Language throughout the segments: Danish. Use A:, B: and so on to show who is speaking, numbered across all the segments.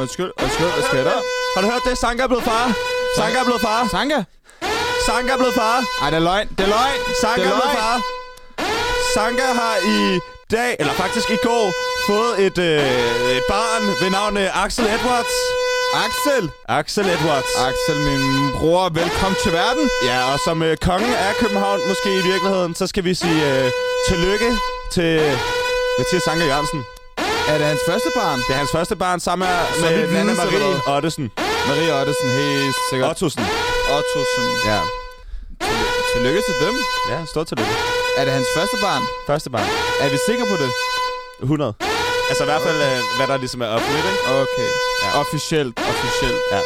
A: Undskyld, undskyld, hvad sker der? Har du hørt det? Sanka er blevet far. Sanka er blevet far.
B: Sanka?
A: Sanka er blevet far.
B: Ej, det er løgn. Det er løgn.
A: Sanka
B: Det
A: er
B: er
A: blevet
B: løgn.
A: far. Sanka har i dag, eller faktisk i går, fået et, øh, et barn ved navn øh, Axel Edwards.
B: Axel.
A: Axel Edwards.
B: Axel, min bror, velkommen til verden.
A: Ja, og som øh, kongen af København måske i virkeligheden, så skal vi sige øh, tillykke til Mathias Sanker Jørgensen.
B: Er det hans første barn?
A: Det er hans første barn sammen med,
B: vi
A: med
B: vides,
A: Nana
B: eller
A: Marie Ottesen.
B: Marie Ottesen, helt sikkert.
A: Ottosen.
B: Ottosen.
A: Ja.
B: Tillykke til dem.
A: Ja, stort tillykke.
B: Er det hans første barn?
A: Første barn.
B: Er vi sikre på det?
A: 100. Altså i hvert fald, øh, hvad der ligesom er oplevet, ikke?
B: Okay.
A: Ja.
B: Officielt, officielt.
A: Ja.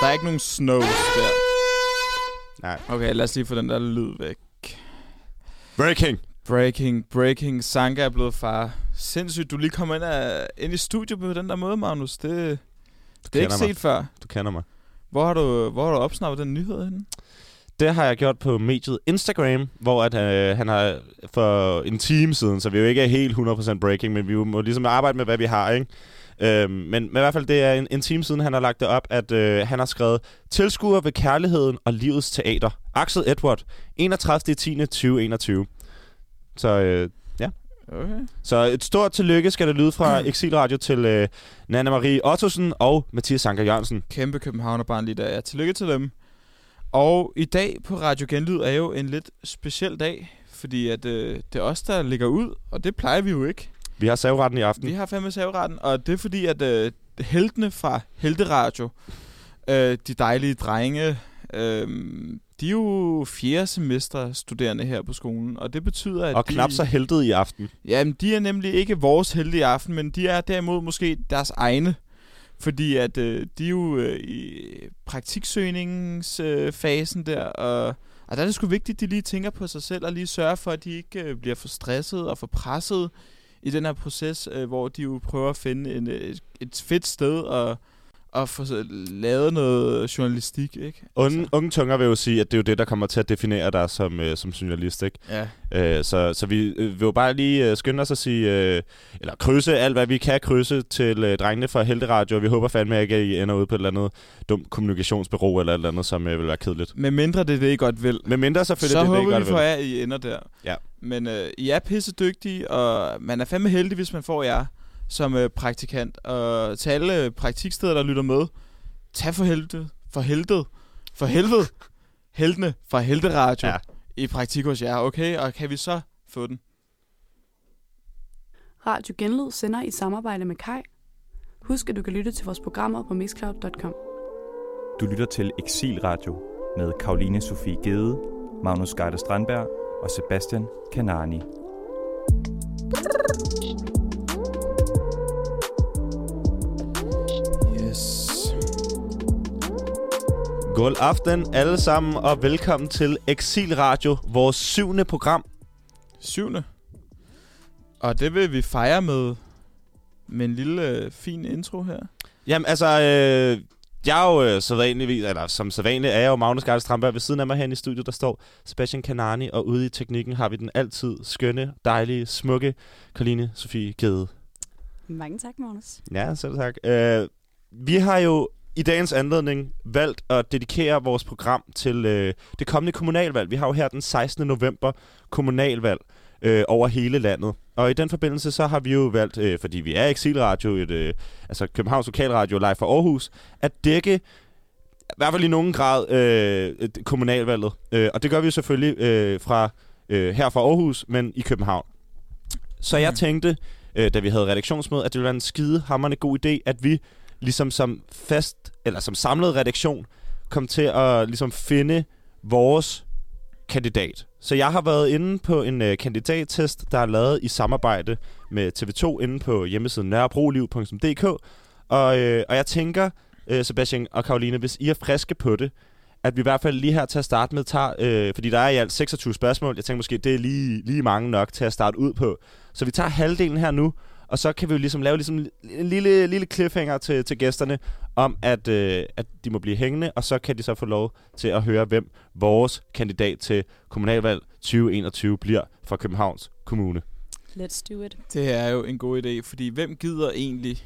B: Der er ikke nogen snows der.
A: Nej.
B: Okay, lad os lige få den der lyd væk.
A: Breaking.
B: Breaking, breaking. Sanka er blevet far. Sindssygt, du lige kom ind, af, ind i studiet på den der måde, Magnus. Det, det er ikke
A: kender mig.
B: set før.
A: Du kender mig.
B: Hvor har du, hvor har du opsnappet den nyhed henne?
A: Det har jeg gjort på mediet Instagram, hvor at, øh, han har for en time siden, så vi jo ikke er helt 100% breaking, men vi må ligesom arbejde med, hvad vi har, ikke? Øhm, men, men i hvert fald, det er en, en time siden, han har lagt det op, at øh, han har skrevet Tilskuer ved kærligheden og livets teater. Axel Edward, 31. 10. 2021. Så, øh,
B: Okay.
A: så et stort tillykke skal der lyde
B: Mm.
A: fra Exilradio til øh, Nana Marie Ottosen og Mathias Sanker Jørgensen.
B: Kæmpe københavnerbarn lige der. Ja, tillykke til dem. Og i dag på Radio Genlyd er jo en lidt speciel dag, fordi at, øh, det er os, der ligger ud, og det plejer vi jo ikke.
A: Vi har savretten i aften.
B: Vi har fandme saveretten, og det er fordi, at øh, heltene fra Helteradio, øh, de dejlige drenge, øh, de er jo fjerde semester studerende her på skolen, og det betyder, at
A: Og
B: de...
A: knap så heldet i aften.
B: Jamen, de er nemlig ikke vores heldige aften, men de er derimod måske deres egne. Fordi at øh, de er jo øh, i praktiksøgningsfasen øh, fasen der, og, og der er det sgu vigtigt, at de lige tænker på sig selv og lige sørger for, at de ikke øh, bliver for stresset og for presset i den her proces, øh, hvor de jo prøver at finde en, øh, et fedt sted og, og få så lavet noget journalistik, ikke?
A: Unge, unge tunger vil jo sige, at det er jo det, der kommer til at definere dig som, øh, som journalist. Ikke?
B: Ja.
A: Øh, så, så vi øh, vil jo bare lige øh, skynde os at sige, øh, eller krydse alt, hvad vi kan krydse til øh, drengene fra Helteradio. og Vi håber fandme ikke, at I ender ude på et eller andet dumt kommunikationsbureau eller et eller andet, som øh, vil være kedeligt.
B: Med mindre det er det, I godt vil.
A: Men mindre selvfølgelig,
B: så
A: det, er det
B: håber
A: ikke
B: vi
A: godt
B: for
A: ved.
B: jer, at I ender der.
A: Ja.
B: Men øh, I er pisse dygtige, og man er fandme heldig, hvis man får jer som øh, praktikant. Og til alle øh, praktiksteder, der lytter med, tag for helvede, for helvede, for helvede, heltene fra Helteradio
A: Ja.
B: ja. i praktik hos jer, okay? Og kan vi så få den?
C: Radio Genlyd sender i samarbejde med Kai. Husk, at du kan lytte til vores programmer på mixcloud.com.
D: Du lytter til Exilradio med Karoline Sofie Gede, Magnus Geider Strandberg og Sebastian Kanani.
B: Yes.
A: God aften alle sammen, og velkommen til Exilradio, vores syvende program.
B: Syvende. Og det vil vi fejre med, med en lille øh, fin intro her.
A: Jamen altså, øh, jeg er jo øh, sædvanligvis, eller som sædvanlig er jeg jo Magnus Gardes Tramberg. Ved siden af mig herinde i studiet, der står Sebastian Kanani, og ude i teknikken har vi den altid skønne, dejlige, smukke Karoline Sofie Gede.
E: Mange tak, Magnus.
A: Ja, selv tak. Øh, vi har jo i dagens anledning valgt at dedikere vores program til øh, det kommende kommunalvalg. Vi har jo her den 16. november kommunalvalg øh, over hele landet. Og i den forbindelse så har vi jo valgt, øh, fordi vi er Exilradio, et, øh, altså Københavns Lokalradio live fra Aarhus, at dække i hvert fald i nogen grad øh, et- kommunalvalget. Øh, og det gør vi jo selvfølgelig øh, fra øh, her fra Aarhus, men i København. Så jeg
B: Mm.
A: tænkte, øh, da vi havde redaktionsmøde, at det ville være en skide hammerende god idé, at vi ligesom som fast, eller som samlet redaktion, kom til at ligesom finde vores kandidat. Så jeg har været inde på en øh, kandidattest, der er lavet i samarbejde med TV2 inde på hjemmesiden nørrebroliv.dk. Og, øh, og jeg tænker, øh, Sebastian og Karoline, hvis I er friske på det, at vi i hvert fald lige her til at starte med tager, øh, fordi der er i alt 26 spørgsmål, jeg tænker måske, det er lige, lige mange nok til at starte ud på. Så vi tager halvdelen her nu, og så kan vi jo ligesom lave ligesom en lille, lille cliffhanger til, til gæsterne, om at, øh, at de må blive hængende, og så kan de så få lov til at høre, hvem vores kandidat til kommunalvalg 2021 bliver fra Københavns Kommune.
E: Let's do it.
B: Det er jo en god idé, fordi hvem gider egentlig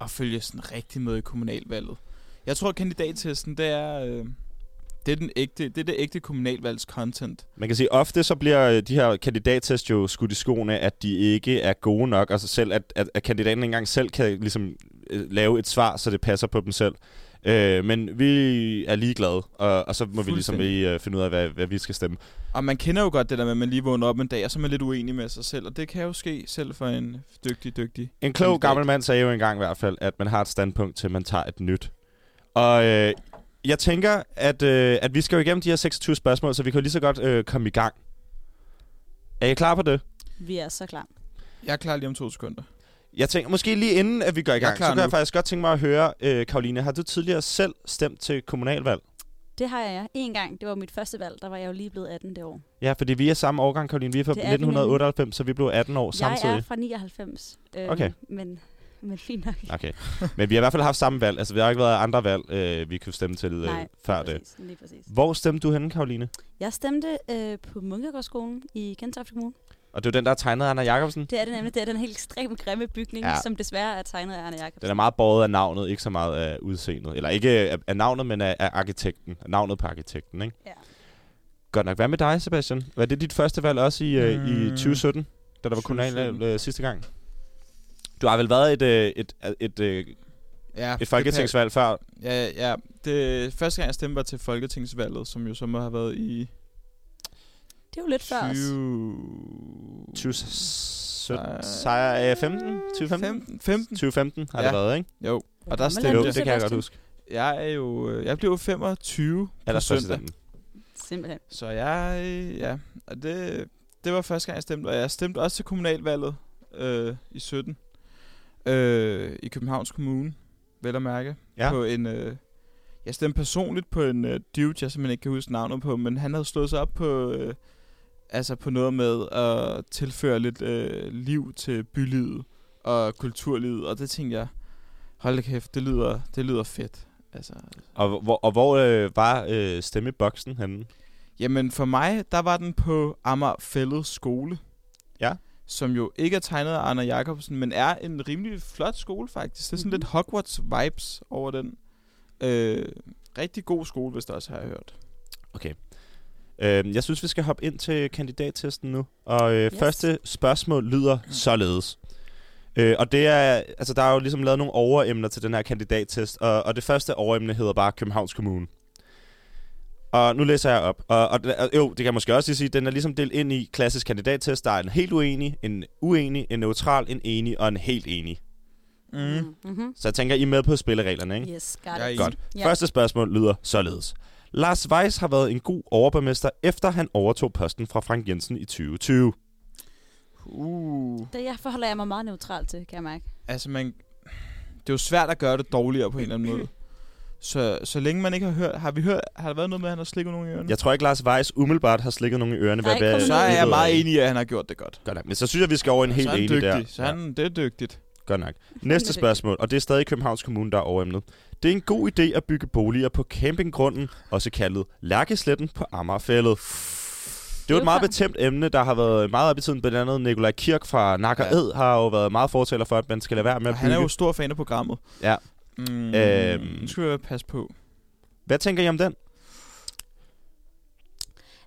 B: at følge sådan rigtig med i kommunalvalget. Jeg tror, at kandidattesten, det er, øh, det, er den ægte, det er det ægte kommunalvalgs content.
A: Man kan sige, ofte så bliver øh, de her kandidattest jo skudt i skoene, at de ikke er gode nok, og så selv, at, at, at kandidaten ikke engang selv kan ligesom, øh, lave et svar, så det passer på dem selv. Øh, men vi er ligeglade, og, og så må vi ligesom
B: Fuldstændig.
A: lige øh, finde ud af, hvad, hvad vi skal stemme.
B: Og man kender jo godt det der med, at man lige vågner op en dag, og så er man lidt uenig med sig selv. Og det kan jo ske selv for en dygtig, dygtig.
A: En klog
B: Kandidat.
A: gammel mand sagde jo engang i hvert fald, at man har et standpunkt til, man tager et nyt. Og øh, jeg tænker, at, øh, at vi skal jo igennem de her 26 spørgsmål, så vi kan jo lige så godt øh, komme i gang. Er I klar på det?
E: Vi er så klar.
B: Jeg er klar lige om to sekunder.
A: Jeg tænker, måske lige inden at vi går i
B: Jeg er
A: gang, så
B: klar
A: kan
B: nu.
A: jeg faktisk godt tænke mig at høre, øh, Karoline, har du tidligere selv stemt til kommunalvalg?
E: Det har jeg en gang. Det var mit første valg. Der var jeg jo lige blevet 18 det år.
A: Ja, fordi vi er samme årgang, Karoline. Vi er fra
E: Det er vi
A: 1998, så vi blev 18 år
E: Jeg er
A: samtidig.
E: fra 99. Øh,
A: Okay.
E: Men, men fint nok.
A: Okay. Men vi har i hvert fald haft samme valg. Altså, vi har ikke været andre valg, øh, vi kunne stemme til øh,
E: Nej,
A: før
E: lige
A: det.
E: præcis, Lige præcis.
A: Hvor stemte du henne, Karoline?
E: Jeg stemte øh, på Munkegårdsskolen i Gentofte Kommune.
A: Og det er jo den, der er tegnet af Anna Jacobsen.
E: Det er det nemlig. Det er den helt ekstremt grimme bygning,
A: Ja.
E: ja. som desværre er tegnet af Arne Jacobsen.
A: Den er meget båret af navnet, ikke så meget af udseendet. Eller ikke af, af navnet, men af, af arkitekten. Navnet på arkitekten, ikke?
E: Ja.
A: Godt nok. Hvad med dig, Sebastian? Var det dit første valg også i, mm. i
B: Mm.
A: 2017, da der var
B: 2017.
A: kommunalvalg øh, sidste gang? Du har vel været et, øh, et, et, et, øh,
B: Ja,
A: et folketingsvalg før?
B: Det, pa- ja, ja. Det første gang, jeg stemte, var til Folketingsvalget, som jo så må have været i
E: Det er jo lidt før os.
B: 20...
A: 2017? Sejr, øh, 15? 2015?
B: 15? 15?
A: 2015 har ja.
B: Ja.
A: det været, ikke?
B: Jo,
E: Hvor
B: og der
E: gammel er
B: stemte
A: Jo,
E: du,
A: det kan jeg godt
E: Sebastian?
A: huske.
B: jeg er jo, øh, jeg blev 25 på søndag.
A: Alderspræsidenten.
E: Simpelthen.
B: Så jeg, øh, ja, og det, det var første gang, jeg stemte, og jeg stemte også til kommunalvalget øh, i 17 øh, i Københavns Kommune, vel at mærke,
A: Ja.
B: på en, øh, jeg stemte personligt på en øh, dude, jeg simpelthen ikke kan huske navnet på, men han havde slået sig op på, øh, altså på noget med at tilføre lidt øh, liv til bylivet og kulturlivet, og det tænkte jeg, hold da kæft, det lyder, det lyder fedt. Altså,
A: Og hvor, og hvor øh, var øh, stemmeboksen henne?
B: Jamen for mig, der var den på Amager Fælled Skole.
A: Ja.
B: Som jo ikke er tegnet af Anna Jacobsen, men er en rimelig flot skole faktisk. Det er sådan
E: Mhm.
B: lidt Hogwarts-vibes over den. Øh, rigtig god skole, hvis der også har jeg hørt.
A: Øh, jeg synes, vi skal hoppe ind til kandidattesten nu. Og øh, yes.
E: Yes.
A: første spørgsmål lyder således. Øh, og det er, altså der er jo ligesom lavet nogle overemner til den her kandidattest, og, og det første overemne hedder bare Københavns Kommune. Og nu læser jeg op. Og, og, og jo, det kan jeg måske også lige sige, den er ligesom delt ind i klassisk kandidattest. Der er en helt uenig, en uenig, en neutral, en enig og en helt enig. Mhm.
B: Mm.
E: Mm-hmm.
A: Så jeg tænker, I er med på spillereglerne, ikke?
E: Yes, got
B: Jeg er
E: it.
B: enig. Godt.
A: Ja. Første spørgsmål lyder således. Lars Weiss har været en god overborgmester, efter han overtog posten fra Frank Jensen i 2020.
B: Uh.
E: Det jeg forholder jeg mig meget neutral til, kan jeg mærke.
B: Altså man, det er jo svært at gøre det dårligere på en eller anden måde. Så, så længe man ikke har hørt, har vi hørt, har der været noget med, at han har slikket nogen i ørerne?
A: Jeg tror ikke, Lars Weiss umiddelbart har slikket nogen i ørerne.
E: Nej,
A: hvad,
E: kom
A: hvad,
E: nu.
B: Så er jeg
A: ved
B: meget
A: ikke.
B: enig i, at han har gjort det godt.
A: Godt nok. Men så synes jeg, vi skal over en helt
B: så er han
A: enig
B: dygtig.
A: der.
B: Så han, det er dygtigt.
A: Ja, godt nok. Næste spørgsmål, og det er stadig Københavns Kommune, der er overemnet. Det er en god idé at bygge boliger på campinggrunden, også kaldet Lærkesletten på Amagerfællet. Det er jo et
E: jo
A: meget
E: klart.
A: betæmt emne, der har været meget op i tiden. Blandt andet Nikolaj Kirk fra Nakker
B: Ja.
A: Ed har jo været meget fortaler for, at man skal lade være med
B: Og
A: at
B: han
A: bygge.
B: er jo stor fan af programmet.
A: Ja.
B: Mm,
A: Øhm.
B: Nu skal vi passe på.
A: Hvad tænker I om den?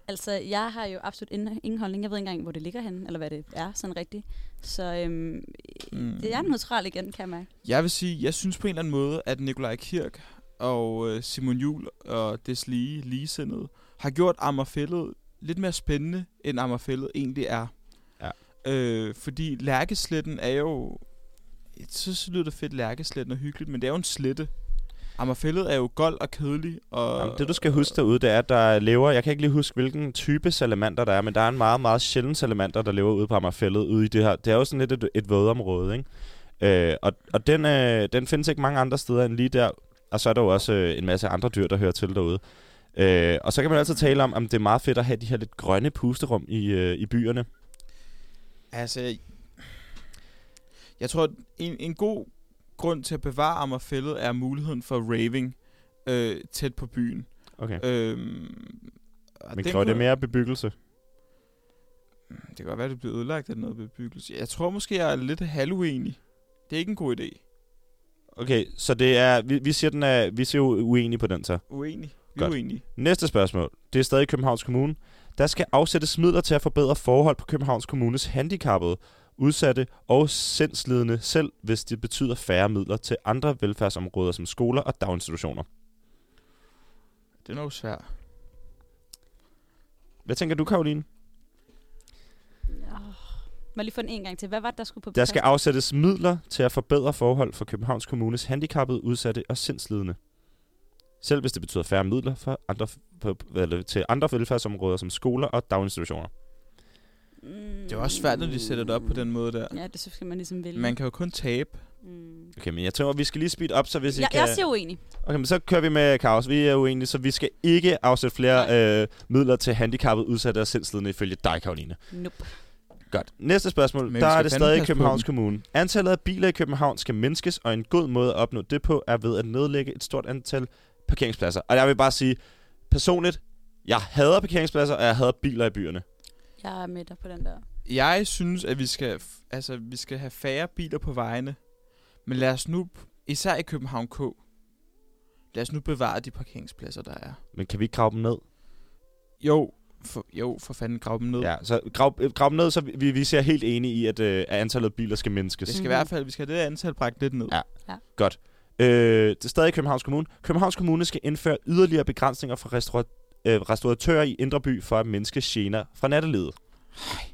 E: Altså, jeg har jo absolut ingen, ingen holdning. Jeg ved ikke engang, hvor det ligger henne, eller hvad det er sådan rigtigt. Så øhm,
B: Mm.
E: mm. det er neutral igen, kan jeg mærke.
B: Jeg vil sige, jeg synes på en eller anden måde, at Nikolaj Kirk og øh, Simon Jul og deslige ligesindede har gjort Ammerfællet lidt mere spændende, end Ammerfællet egentlig er.
A: Ja.
B: Øh, fordi Lærkesletten er jo... Jeg synes, det lyder det fedt, Lærkesletten er hyggeligt, men det er jo en slette. Ammerfællet er jo gold og kedelig. Og,
A: Jamen, det du skal huske derude, det er, at der lever, jeg kan ikke lige huske, hvilken type salamander der er, men der er en meget, meget sjælden salamander, der lever ude på Amagerfællet, ude i det her. Det er jo sådan lidt et, et vådområde, ikke? Øh, og og den, øh, den findes ikke mange andre steder end lige der. Og så er der jo også øh, en masse andre dyr, der hører til derude. Øh, og så kan man altid tale om, om det er meget fedt at have de her lidt grønne pusterum i, øh, i byerne.
B: Altså, jeg tror, en, en god grund til at bevare Ammerfællet er muligheden for raving øh, tæt på byen.
A: Okay.
B: Øhm, og
A: Men
B: den
A: kræver Øh, det
B: kunne-
A: mere bebyggelse?
B: Det kan godt være, det bliver ødelagt af noget bebyggelse. Jeg tror måske, jeg er lidt halvuenig. Det er ikke en god idé
A: Okay, så det er, vi, vi siger, den er, vi siger jo uenige på den så.
B: Uenig. Vi er
A: Godt.
B: uenige.
A: Næste spørgsmål. Det er stadig Københavns Kommune. Der skal afsættes midler til at forbedre forhold på Københavns Kommunes handicappede, udsatte og sindslidende, selv hvis det betyder færre midler til andre velfærdsområder som skoler og daginstitutioner.
B: Det er nok svært.
A: Hvad tænker du, Karoline?
E: Oh. Må jeg lige få den en gang til. Hvad var det, der skulle på
A: Der skal
E: plads?
A: afsættes midler til at forbedre forhold for Københavns Kommunes handicappede, udsatte og sindslidende. Selv hvis det betyder færre midler for andre, på, eller, til andre velfærdsområder som skoler og daginstitutioner.
E: Mm.
B: Det er jo også svært, når de sætter det op på den måde der.
E: Ja, det så skal man ligesom vælge.
B: Man kan jo kun tabe.
E: Mm.
A: Okay, men jeg tror, vi skal lige speed op, så hvis I
E: Jeg,
A: kan...
E: jeg siger uenig.
A: Okay, men så kører vi med kaos. Vi er uenige, så vi skal ikke afsætte flere øh, midler til handicappede, udsatte og sindslidende ifølge dig, Karoline.
E: Nope.
A: Godt. Næste spørgsmål.
B: Men vi
A: der er
B: skal
A: det
B: fandme
A: stadig
B: passe på
A: Københavns
B: dem.
A: Kommune. Antallet af biler i København skal mindskes, og en god måde at opnå det på er ved at nedlægge et stort antal parkeringspladser. Og jeg vil bare sige, personligt, jeg hader parkeringspladser, og jeg hader biler i byerne.
E: Jeg er med dig på den der.
B: Jeg synes, at vi skal, f- altså, vi skal have færre biler på vejene. Men lad os nu, især i København K, lad os nu bevare de parkeringspladser, der er.
A: Men kan vi ikke grave dem ned?
B: Jo, for, jo, for fanden grav dem ned.
A: Ja, så grav, øh, grav dem ned, så vi, vi ser helt enige i, at, øh, at antallet af biler skal mindskes.
B: Det skal i
E: Mhm.
B: hvert fald, vi skal have det der antal bragt lidt ned.
A: Ja. Øh, det er stadig Københavns Kommune. Københavns Kommune skal indføre yderligere begrænsninger for restaura- øh, restauratører i Indre By for at mindske gener fra nattelivet.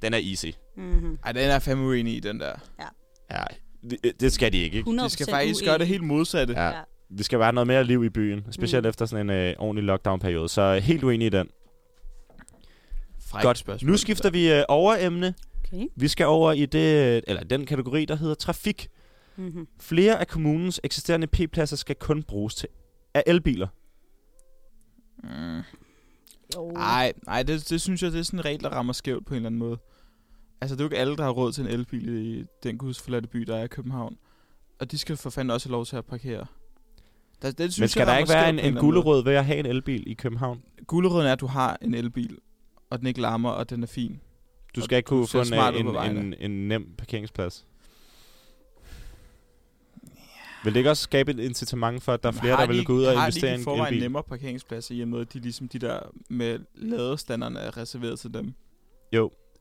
A: Den er easy.
E: Mm-hmm.
B: Ej, den er jeg fandme uenig i, den der.
A: Ja, det, øh, det skal de ikke. ikke?
E: 100%
B: Vi skal faktisk gøre det helt modsatte.
A: Ja. Vi skal være noget mere liv i byen, specielt mm.
E: Mm.
A: efter sådan en øh, ordentlig lockdown-periode. Så øh, helt uenig i den.
B: Frækt
A: Godt.
B: spørgsmål.
A: Nu skifter vi øh, over emne.
E: Okay.
A: Vi skal over i det, øh, eller den kategori, der hedder trafik.
E: Mm-hmm.
A: Flere af kommunens eksisterende p-pladser skal kun bruges til af elbiler.
B: Mm.
E: Jo.
B: Ej, nej, det, det synes jeg, det er sådan en regel, der rammer skævt på en eller anden måde. Altså, det er jo ikke alle, der har råd til en elbil i den gudsforladte by, der er i København. Og de skal for fanden også have lov til at parkere. Der, det, synes
A: Men skal
B: jeg,
A: der
B: rammer
A: ikke være
B: skævt
A: en,
B: på
A: en
B: eller anden måde.
A: gulerod ved at have en elbil i København?
B: Gulerøden er, at du har en elbil, og den ikke larmer, og den er fin.
A: Du
B: Og
A: skal ikke
B: du
A: kunne
B: ser
A: få en,
B: smart ud
A: øh,
B: på
A: en,
B: vejene.
A: en, en nem parkeringsplads. Vil det ikke også skabe et incitament for, at der er flere,
B: Har
A: der
B: de
A: vil
B: ikke-
A: gå ud og
B: Har de
A: investere i
B: ikke i
A: en
B: forvejen
A: elbil?
B: nemmere parkeringspladser, i og med, at de, ligesom de der med ladestanderne er reserveret til dem?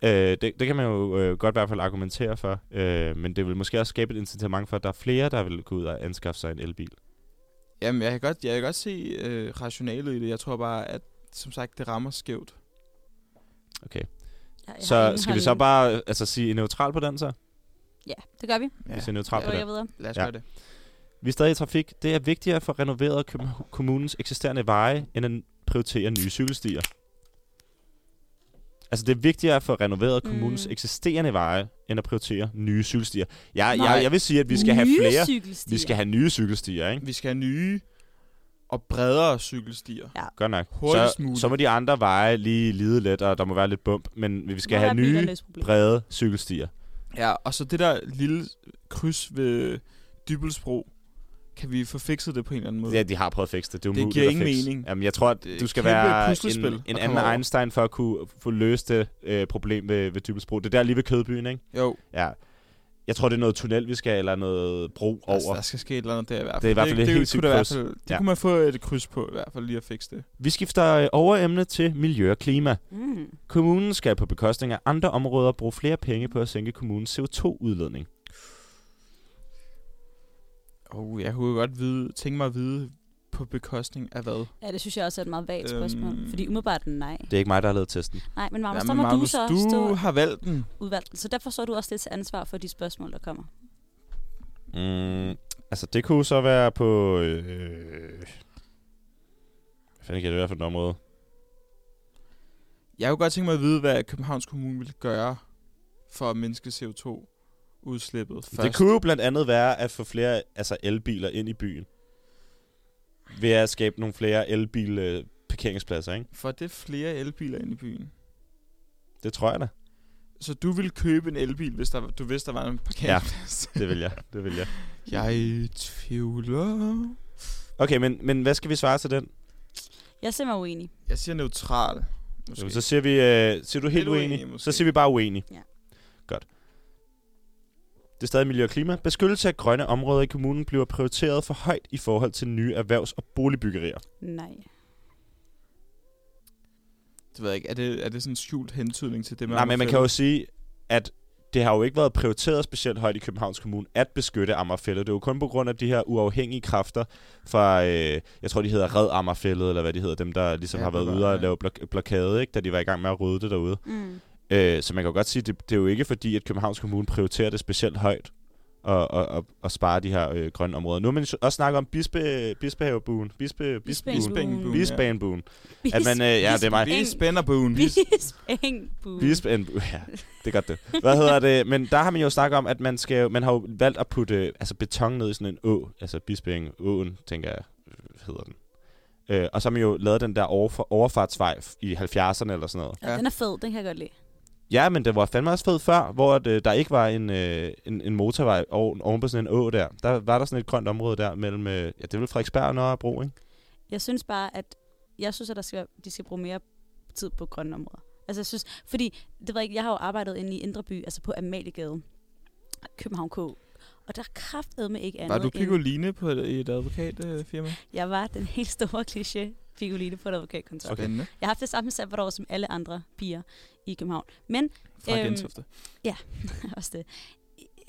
A: Øh, det, det kan man jo øh, godt i hvert fald argumentere for, øh, men det vil måske også skabe et incitament for, at der er flere, der vil gå ud og anskaffe sig en elbil.
B: Jamen, jeg kan godt, jeg kan godt se øh, rationalet i det. Jeg tror bare, at som sagt, det rammer skævt.
E: Jeg- jeg har
A: Så
E: ingen
A: skal vi så
E: holdning.
A: bare øh, altså, sige neutral på den så?
E: Ja, det gør vi.
A: Vi siger neutral på
E: Jo, jeg
A: den.
E: ved.
B: Lad os
A: Ja.
B: ja. gøre det.
A: Vi er stadig i trafik. Det er vigtigere at få renoveret København- kommunens eksisterende veje, end at prioritere nye cykelstier. Altså, det er vigtigere at få renoveret kommunens
E: Mm.
A: eksisterende veje, end at prioritere nye cykelstier. Jeg,
B: Nej.
A: jeg, jeg vil sige, at vi skal have
E: Nye
A: flere.
E: cykelstier.
A: Vi skal have nye cykelstier, ikke?
B: Vi skal have nye og bredere cykelstier.
A: Godt nok.
B: Hurtigst
A: så,
B: muligt.
A: så må de andre veje lige lide lidt, og der må være lidt bump. Men vi
E: Hvor
A: skal
E: er
A: have nye,
E: bilernes problem?
A: brede cykelstier.
B: Ja, og så det der lille kryds ved Dybelsbro, kan vi få fikset det på en eller anden måde?
A: Ja, de har prøvet at fikse det. Det, er
B: Det
A: umuligt
B: giver
A: at
B: ingen
A: fikse.
B: mening.
A: Jamen, jeg tror, at
B: Det er
A: du skal
B: et kæmpe
A: være
B: puslespil
A: en, en
B: at
A: anden
B: komme over.
A: Einstein for at kunne få løst det øh, problem ved, ved Dybelsbro. Det er der lige ved Kødbyen, ikke?
B: Jo,
A: Ja. Jeg tror, det er noget tunnel, vi skal, eller noget bro
B: altså,
A: over.
B: der skal ske et eller andet der i hvert fald.
A: Det er i hvert fald et
B: det,
A: helt
B: kunne
A: sygt
B: der i hvert
A: kryds.
B: fald, det
A: Ja.
B: kunne man få et kryds på i hvert fald lige at fikse det.
A: Vi skifter øh, overemne til miljø og klima.
E: Mm.
A: Kommunen skal på bekostning af andre områder bruge flere penge på at sænke kommunens CO2-udledning.
B: Oh, jeg kunne godt vide, tænke mig at vide på bekostning af hvad?
E: Ja, det synes jeg også er et meget vagt
B: Øhm.
E: spørgsmål. Fordi umiddelbart nej.
A: Det er ikke mig, der har lavet testen.
E: Nej, men Magnus,
B: Jamen,
E: der må
B: Magnus,
E: du så
B: du
E: stå
B: har valgt den.
E: udvalgt. Så derfor står du også lidt til ansvar for de spørgsmål, der kommer.
A: Mm, altså, det kunne så være på... Øh, hvad fanden kan det være for et område?
B: Jeg kunne godt tænke mig at vide, hvad Københavns Kommune ville gøre for at mindske CO2-udslippet først.
A: Det kunne jo blandt andet være at få flere altså elbiler ind i byen. Ved at skabe nogle flere elbil øh, parkeringspladser, ikke?
B: For det er flere elbiler ind i byen.
A: Det tror jeg da.
B: Så du ville købe en elbil, hvis der, du vidste, der var en parkeringsplads?
A: Det vil jeg. Det vil jeg.
B: Jeg tvivler.
A: Okay, men, men hvad skal vi svare til den?
E: Jeg er simpelthen uenig.
B: Jeg siger neutral. Måske.
A: Måske. Så siger vi, øh, siger du helt
B: Lidt uenig,
A: uenig?
B: måske.
A: Så siger vi bare uenig.
E: Ja.
A: Godt. Det er stadig miljø og klima. Beskyttelse af grønne områder i kommunen bliver prioriteret for højt i forhold til nye erhvervs- og boligbyggerier.
E: Nej.
B: Det ved jeg ikke. Er det, er det sådan en skjult hentydning til det,
A: Nej, men man kan jo sige, at det har jo ikke været prioriteret specielt højt i Københavns Kommune at beskytte Ammerfællet. Det er jo kun på grund af de her uafhængige kræfter fra, øh, jeg tror de hedder Red Ammerfællet, eller hvad de hedder, dem der ligesom
B: Ja,
A: ja, har været
B: det var-
A: ude og
B: ja.
A: lave blok- blokade, ikke, da de var i gang med at rydde det derude.
E: Mm.
A: Øh, så man kan jo godt sige, det, det er jo ikke fordi, at Københavns Kommune prioriterer det specielt højt og, og, og, og spare de her øh, grønne områder. Nu har man jo også snakket om bispe, bispehavebuen. Bispe, bispehavebuen.
B: Bispengbuen.
A: Bisbanebuen. At man, øh, ja, det er mig.
B: Vi spænder på ugen.
E: Bispengbu.
A: Bispen, ja, det er godt det. Hvad hedder det? Men der har man jo snakket om, at man, skal, jo- man har jo valgt at putte øh, altså beton ned i sådan en å. Altså Bisping, åen, tænker jeg, øh, hedder den. Øh, og så har man jo lavet den der overf- overfartsvej f- i 70'erne eller sådan noget.
E: Ja. Den er fed, den kan jeg godt lide.
A: Ja, men det var fandme også fed før, hvor at, øh, der ikke var en, øh, en, en motorvej oven, oven på sådan en å der. Der var der sådan et grønt område der mellem, øh, ja, det er vel Frederiksberg og Nørrebro, ikke?
E: Jeg synes bare, at jeg synes, at der skal, de skal bruge mere tid på grønne områder. Altså, jeg synes, fordi, det ved jeg ikke, jeg har jo arbejdet inde i Indre By, altså på Amaliegade, København K. Og der er kraftedme ikke andet
B: Var du
E: end-
B: Piccoline på et, i et advokatfirma?
E: Jeg var den helt store kliché figuline på et advokatkontor. Okay.
A: Okay.
B: Spændende.
E: Jeg har haft det samme sabbatår som alle andre piger i København. Men
B: Fra
E: Øhm,
B: Gentofte.
E: også det.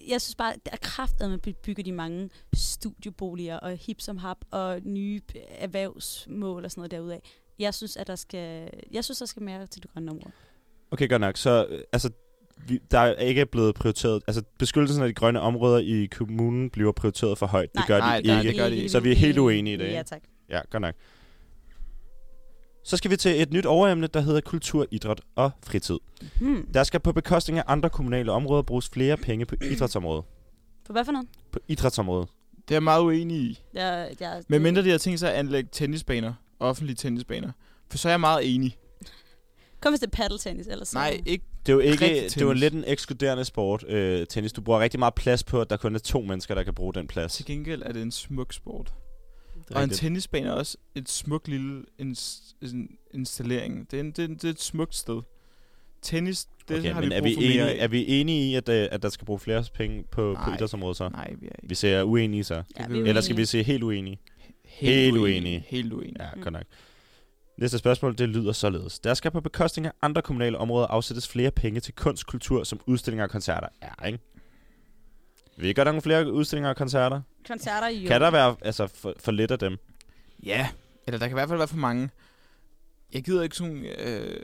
E: Jeg synes bare, der er kraftet med bygger de mange studieboliger og hip som hap og nye p- erhvervsmål og sådan noget derudaf. Jeg synes, at der skal, jeg synes, der skal mere til det grønne område.
A: Okay, godt nok. Så øh, altså, vi, der er ikke blevet prioriteret, altså beskyttelsen af de grønne områder i kommunen bliver prioriteret for højt.
E: Nej,
A: det gør
B: nej,
A: de
B: nej,
A: ikke.
B: det gør de ikke.
A: Så vi er helt uenige i det,
E: Ja,
A: ikke?
E: tak.
A: Ja, godt nok. Så skal vi til et nyt overemne, der hedder kultur, idræt og fritid.
E: Hmm.
A: Der skal på bekostning af andre kommunale områder bruges flere penge på idrætsområdet.
E: For hvad for noget?
A: På idrætsområdet.
B: Det er jeg meget uenig i.
E: Jeg, jeg,
B: Men mindre de har tænkt sig at anlægge tennisbaner, offentlige tennisbaner, for så er jeg meget enig.
E: Kom hvis det er paddeltennis, ellers...
B: Nej, ikke.
A: Det er jo ikke,
B: Rigtig
A: det er jo
B: tennis.
A: lidt en ekskluderende sport, øh, tennis. Du bruger rigtig meget plads på, at der kun er to mennesker, der kan bruge den plads.
B: Til gengæld er det en smuk sport.
A: Det er
B: Og en
A: rigtigt.
B: tennisbane er også et smukt lille ins- en installering. Det er, en, det, er en, det er et smukt sted. Tennis, det
A: okay,
B: okay, har vi
A: men
B: brug
A: er, vi
B: for mere
A: enige, er
B: af.
A: vi enige i, at, øh, at der skal bruge flere penge på, på
B: Nej.
A: idrætsområdet så?
B: Nej, vi er ikke.
A: Vi ser uenige så.
E: Ja,
B: det
E: vi
B: vil-
E: er
A: Eller skal vi
E: uenige.
A: se helt uenige?
B: Helt,
A: Helt
B: uenige.
A: uenige.
B: Helt uenige.
A: Ja,
E: Mm.
A: godt nok. Næste spørgsmål, det lyder således. Der skal på bekostning af andre kommunale områder afsættes flere penge til kunst, kultur, som udstillinger og koncerter. Ja, ikke? Vil I godt have nogle flere udstillinger og koncerter?
E: Koncerter jo.
A: Jo. Kan der være altså, for, for lidt af dem?
B: Ja, eller der kan i hvert fald være for mange. Jeg gider ikke sådan... Øh,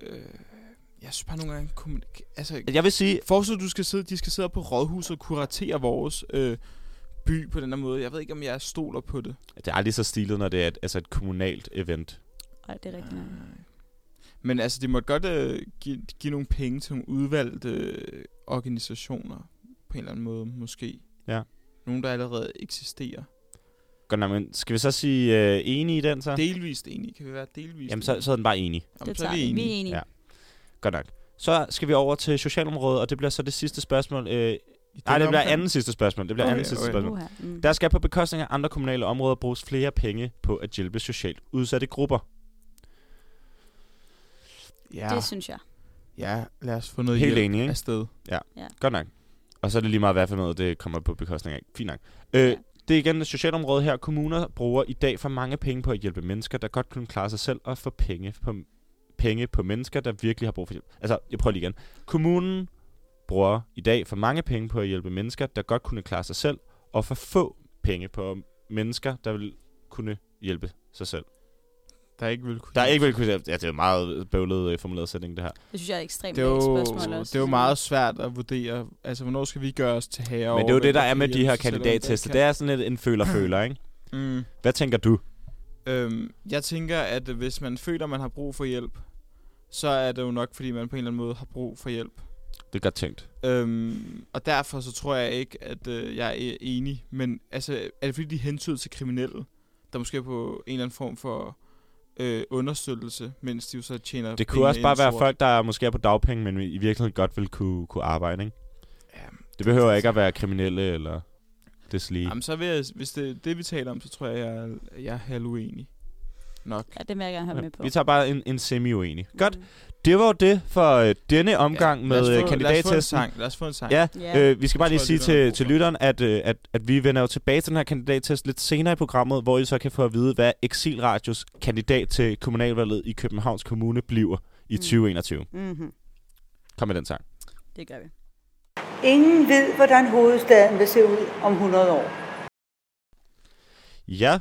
B: jeg synes bare nogle gange... kommunik- Altså,
A: Jeg vil sige,
B: Forestil dig, du skal sidde, de skal sidde på rådhuset og kuratere vores øh, by på den her måde. Jeg ved ikke, om jeg stoler på det.
A: det er aldrig så stilet, når det er et, altså et kommunalt event.
E: Nej, det er rigtigt. nok.
B: Ah. Men altså, de måtte godt øh, give, give nogle penge til nogle udvalgte øh, organisationer på en eller anden måde, måske.
A: Ja.
B: Nogle, der allerede eksisterer.
A: Godt nok, men skal vi så sige øh, enige i den så?
B: Delvist enige. Kan vi være delvist
A: Jamen, så,
B: enige?
A: så er den bare enig.
B: Jamen,
E: Det
B: så er
E: tager
B: vi
E: vi. Vi
B: enige.
E: er enige.
A: Ja. Godt nok. Så skal vi over til socialområdet, og det bliver så det sidste spørgsmål. Øh,
B: I
A: nej,
B: den
A: det bliver
B: omfang.
A: anden sidste spørgsmål. Det bliver
B: Okay,
A: anden sidste
B: okay.
A: spørgsmål.
E: Uha, mm.
A: Der skal på bekostning af andre kommunale områder bruges flere penge på at hjælpe socialt udsatte grupper.
B: Ja,
E: Det synes jeg.
B: ja, lad os få noget
A: Helt
B: hjælp
A: enig, ikke?
B: afsted.
A: Godt nok. Og så er det lige meget, hvad for noget det kommer på bekostning af. Fint nok. Øh,
E: Ja.
A: Det er igen et socialområde her. Kommuner bruger i dag for mange penge på at hjælpe mennesker, der godt kunne klare sig selv og få penge på, penge på mennesker, der virkelig har brug for hjælp. Altså, jeg prøver lige igen. Kommunen bruger i dag for mange penge på at hjælpe mennesker, der godt kunne klare sig selv, og for få penge på mennesker, der vil kunne hjælpe sig selv.
B: Der er ikke vel kunne
A: Der er ikke vel kunne... Ja, det er jo meget bøvlet øh, formuleret sætning, det her.
E: Det synes jeg er et ekstremt
B: det er, jo,
E: spørgsmål også.
B: det er jo meget svært at vurdere, altså hvornår skal vi gøre os til herre
A: Men
B: over,
A: det er jo
B: hvem
A: det, der er
B: kan
A: med de
B: hjælpe
A: her
B: sig selv, og hvem
A: kandidattester.
B: der
A: Det er sådan lidt en føler-føler, ikke?
B: ikke kan. Mm.
A: Hvad tænker du?
B: Øhm, jeg tænker, at hvis man føler, man har brug for hjælp, så er det jo nok, fordi man på en eller anden måde har brug for hjælp.
A: Det er godt tænkt.
B: Øhm, og derfor så tror jeg ikke, at øh, jeg er enig. Men altså, er det fordi, de hentyder til kriminelle, der måske er på en eller anden form for øh, understøttelse, mens de jo så tjener
A: Det kunne
B: pengene
A: også bare
B: ind
A: være
B: sort?
A: folk, der måske er på dagpenge, men i virkeligheden godt vil kunne, kunne arbejde, ikke?
B: Jamen,
A: Det behøver ikke at være kriminelle eller deslige.
B: Jamen, så vil jeg, hvis det er det, vi taler om, så tror jeg, jeg er, jeg er halv uenig. Nok.
E: Ja, det vil jeg gerne have med på.
A: Vi tager bare en, en semi-uenig. Godt.
E: Mm.
A: det var jo det for øh, denne omgang ja, med øh,
B: Lad os få en
A: kandidattesten.
B: sang. Lad os få en sang.
A: Ja,
E: Ja.
A: øh, vi skal bare
B: Jeg
A: lige
B: tror,
A: sige
B: lytterne har
A: til,
B: brug
A: til
B: for det.
A: lytteren, at, øh, at, at vi vender jo tilbage til den her kandidattest lidt senere i programmet, hvor I så kan få at vide, hvad Exilradios kandidat til kommunalvalget i Københavns Kommune bliver i
E: Mm.
A: 2021.
E: Mm-hmm.
A: Kom med den sang.
E: Det gør vi.
F: Ingen ved, hvordan hovedstaden vil se ud om 100 år.
A: Ja,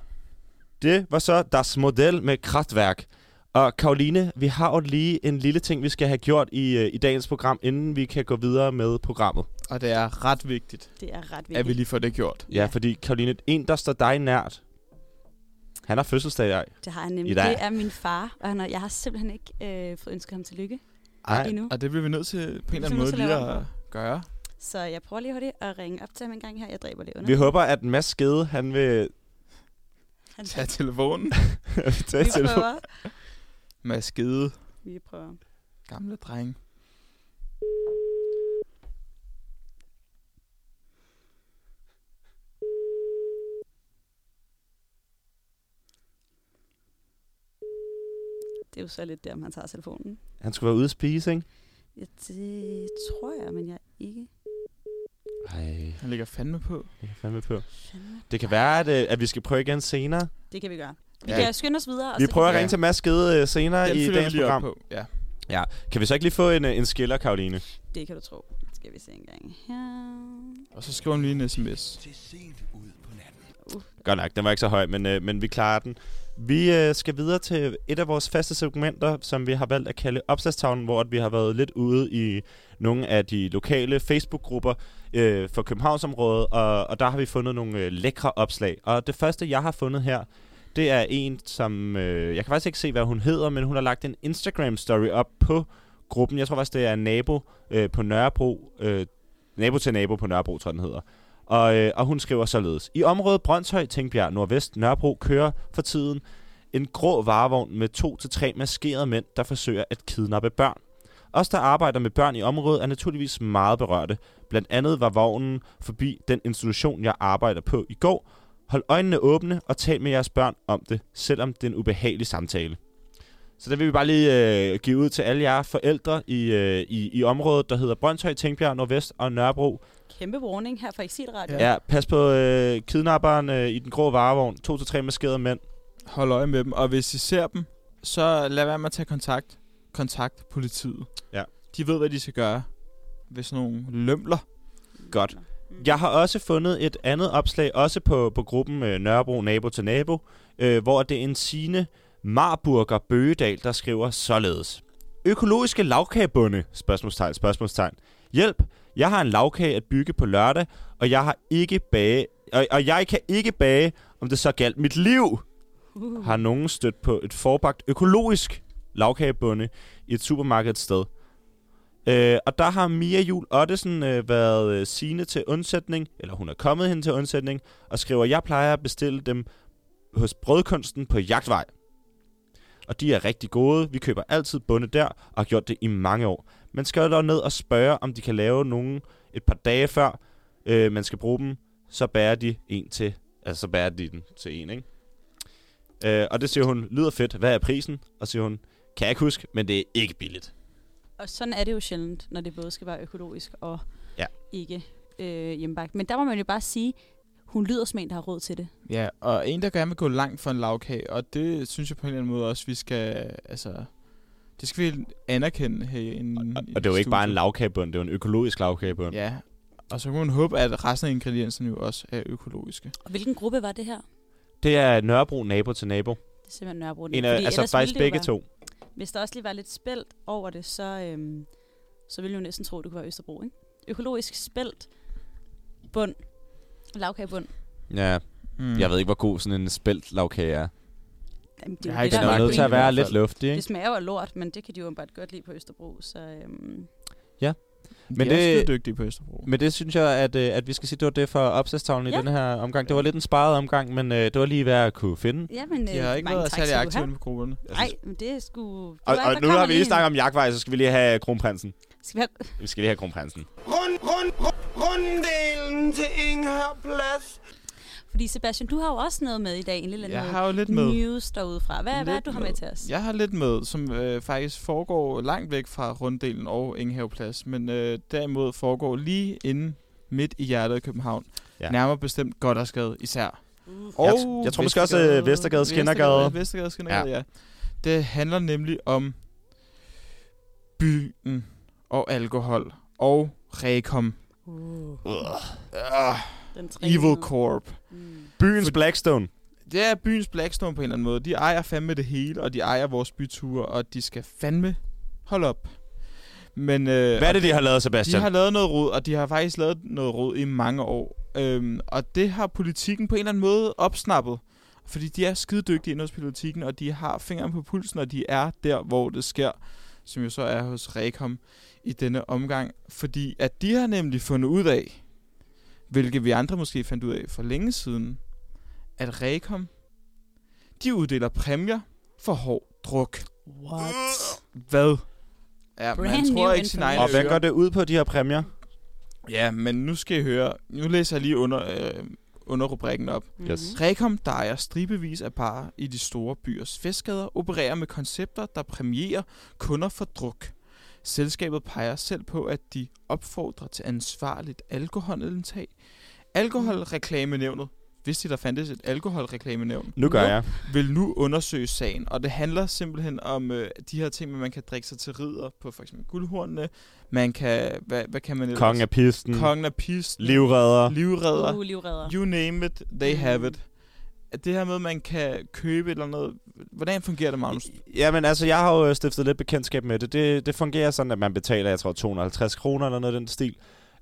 A: det var så deres model med kraftværk. Og Karoline, vi har jo lige en lille ting, vi skal have gjort i, øh, i dagens program, inden vi kan gå videre med programmet.
B: Og det er ret vigtigt,
E: Det er ret vigtigt.
B: at vi lige får det gjort.
A: Ja, fordi Karoline, en der står dig nært, han har fødselsdag i dag.
E: det har jeg
A: I
E: nemlig.
A: dag.
E: Det er min far, og han har, jeg har simpelthen ikke øh, fået ønsket ham tillykke
A: Ej,
E: endnu.
B: Og det bliver vi nødt til på en eller anden
E: simpelthen
B: måde
E: til at
B: lige
E: lave
B: at gøre.
E: Så jeg prøver lige hurtigt at ringe op til ham en gang her. Jeg dræber det under.
A: Vi håber, at Mads Skede, han vil
E: Han,
B: Tag telefonen.
A: tage
E: vi
A: telefonen.
E: prøver.
B: Mads Gede.
E: Vi prøver.
B: Gamle dreng.
E: Det er jo så lidt der, om han tager telefonen.
A: Han skulle være ude at spise, ikke?
E: Ja, det tror jeg, men jeg er ikke
A: Ej,
B: Han ligger fandme på.
A: det kan fandme på.
E: fandme.
A: Det kan være, at, øh, at vi skal prøve igen senere.
E: Det kan vi gøre. Vi
B: Ja.
E: ja. kan skynde os videre. og
A: Vi
E: så
A: prøver
E: kan
A: at ringe til Mads Skede øh, senere
B: Den
A: i
B: følger vi
A: dagens
B: lige op
A: program.
B: på. Ja.
A: Kan vi så ikke lige få en, øh, en skiller, Karoline?
E: Det kan du tro. Skal vi se en gang her.
B: Og så skriver han lige en sms.
A: Godt nok, den var ikke så høj, men, øh, men vi klarer den. Vi øh, skal videre til et af vores faste segmenter, som vi har valgt at kalde opslagstavlen, hvor at vi har været lidt ude i nogle af de lokale Facebook-grupper øh, for Københavnsområdet, og, og der har vi fundet nogle øh, lækre opslag. Og det første, jeg har fundet her, det er en, som... Øh, jeg kan faktisk ikke se, hvad hun hedder, men hun har lagt en Instagram-story op på gruppen. Jeg tror faktisk, det er nabo øh, på Nørrebro. Øh, nabo til nabo på Nørrebro, tror jeg, den hedder. Og, øh, og hun skriver således. I området Brøndshøj, Tingbjerg, Nordvest, Nørrebro kører for tiden en grå varevogn med to til tre maskerede mænd, der forsøger at kidnappe børn. Os, der arbejder med børn i området, er naturligvis meget berørte. Blandt andet var vognen forbi den institution, jeg arbejder på i går. Hold øjnene åbne og tal med jeres børn om det, selvom det er en ubehagelig samtale. Så det vil vi bare lige øh, give ud til alle jer forældre i, øh, i, i området, der hedder Brøndshøj, Tingbjerg, Nordvest og Nørrebro.
E: Kæmpe warning her fra Exilradio.
A: Ja, pas på øh, kidnapperen øh, i den grå varevogn. To til tre maskerede mænd.
B: Hold øje med dem. Og hvis I ser dem, så lad være med at tage kontakt. Kontakt politiet.
A: Ja.
B: De ved, hvad de skal gøre. Hvis nogle lømler.
A: Godt. Jeg har også fundet et andet opslag, også på, på gruppen øh, Nørrebro Nabo til Nabo, øh, hvor det er en sine Marburger Bøgedal, der skriver således. Økologiske lavkagebunde? Spørgsmålstegn, spørgsmålstegn. Hjælp, jeg har en lavkage at bygge på lørdag, og jeg har ikke bage, og, og jeg kan ikke bage, om det så galt mit liv.
E: Uh.
A: har nogen stødt på et forbagt økologisk lavkagebunde i et supermarked et sted. Øh, og der har Mia Jul Ottesen øh, været øh, sine til undsætning, eller hun er kommet hende til undsætning, og skriver, jeg plejer at bestille dem hos Brødkunsten på Jagtvej. Og de er rigtig gode, vi køber altid bunde der, og har gjort det i mange år. Man skal jo dog ned og spørge, om de kan lave nogen et par dage før øh, man skal bruge dem, så bærer de en til, altså så bærer de den til en, ikke? Øh, og det siger hun, lyder fedt, hvad er prisen? Og siger hun, kan jeg ikke huske, men det er ikke billigt.
E: Og sådan er det jo sjældent, når det både skal være økologisk og
A: Ja.
E: ja. ikke øh, hjemmebagt. Men der må man jo bare sige, hun lyder som en, der har råd til det.
B: Ja, og en, der gerne vil gå langt for en lavkage. Og det synes jeg på en eller anden måde også, vi skal... Altså, det skal vi anerkende her i en,
A: Og, og det er jo ikke bare en lavkagebund, det er jo en økologisk lavkagebund.
B: Ja, og så kan man håbe, at resten af ingredienserne jo også er økologiske.
E: Og hvilken gruppe var det her?
A: Det er Nørrebro nabo til nabo.
E: Det er simpelthen Nørrebro.
A: En af, altså faktisk begge to.
E: Hvis der også lige var lidt spældt over det, så, øhm, så ville jeg jo næsten tro, at det kunne være Østerbro, ikke? Økologisk spældt bund. Lavkagebund.
A: Ja,
B: Mm.
A: jeg ved ikke, hvor god sådan en spældt lavkage er.
E: Jamen, det
B: Jeg
E: er
B: har
E: jo
B: ikke
E: det, der
A: Den
E: er
A: er jo nødt til at
E: pointen.
A: være lidt luftig,
E: Det
A: ikke?
E: smager jo af lort, men det kan de jo bare godt lide på Østerbro, så øhm,
B: Men
A: Men
B: de er
A: det-
B: også dygtige på Østerbro.
A: Men det synes jeg, at, øh, at vi skal sige, det var det for opslagstavlen i
E: Ja.
A: den her omgang. Det var lidt en sparet omgang, men øh, det var lige, hvad jeg kunne finde.
E: ja, men øh,
B: De
A: øh,
B: har ikke været særlig aktive inde på grupperne.
E: Nej, men det er sgu... det
A: Altså, Og,
E: var- der
A: og nu
E: kommer
A: har vi lige
E: en.
A: snakket om jagtvej, så skal vi lige have øh, kronprinsen.
E: Skal vi have...
A: Vi skal lige have kronprinsen.
G: Rund, rund, rund, runddelen til Ingher Plads.
E: Fordi Sebastian, du har jo også noget med i dag, en lille
B: Jeg
E: noget
B: har jo lidt med.
E: news derudefra. Hvad, hvad er
B: Lidt
E: det, du har
B: med.
E: med til os?
B: Jeg har lidt med, som øh, faktisk foregår langt væk fra runddelen og Ingehaveplads, men øh, derimod foregår lige inde midt i hjertet af København.
A: Ja.
B: Ja. Nærmere bestemt Goddersgade især.
E: Uh,
A: Jeg,
B: Og
A: jeg tror måske også øh, Vestergade, Skinnergade.
B: Vestergade, Vestergade Skindergade, ja. ja. Det handler nemlig om byen og alkohol og Rekom.
E: uh,
B: Uh,
E: den trænede.
B: Evil Corp.
E: Mm.
A: Byens Blackstone.
B: Det er byens Blackstone på en eller anden måde. De ejer fandme det hele, og de ejer vores byture, og de skal fandme holde op. Men, øh,
A: Hvad er det, de har lavet,
B: de
A: Sebastian?
B: har lavet noget rod, og de har faktisk lavet noget rod i mange år. Øhm, og det har politikken på en eller anden måde opsnappet. Fordi de er skide dygtige inde hos politikken, og de har fingeren på pulsen, og de er der, hvor det sker. Som jo så er hos Rekom i denne omgang. Fordi at de har nemlig fundet ud af, hvilket vi andre måske fandt ud af for længe siden, at Rekom, de uddeler præmier for hård druk.
E: What?
B: Hvad? Ja,
E: Brand
B: man tror
E: new
B: ikke sin egen
A: Og hvad
B: ører.
A: går det ud på, de her præmier?
B: Ja, men nu skal I høre. Nu læser jeg lige under, øh, under rubrikken op.
E: Mm.
A: Yes.
B: Rekom, der ejer stribevis af barer i de store byers festgader, opererer med koncepter, der præmierer kunder for druk. Selskabet peger selv på, at de opfordrer til ansvarligt alkoholindtag. Alkoholreklamenævnet, hvis de der fandtes et alkoholreklamenævn,
A: Nu gør jeg.
B: vil nu undersøge sagen, og det handler simpelthen om øh, de her ting, med, at man kan drikke sig til ridder på for eksempel guldhornene, man kan, hvad, hvad kan man ellers?
A: Kongen af pisten.
B: Kongen af pisten,
A: Livredder.
B: livredder,
E: Uh, livredder.
B: you name it, they
E: Mm.
B: have it. At Det her med, at man kan købe et eller noget, hvordan fungerer det, Magnus?
A: Jamen altså, jeg har jo øh, stiftet lidt bekendtskab med det. det. Det fungerer sådan, at man betaler, jeg tror, 250 kroner eller noget af den stil.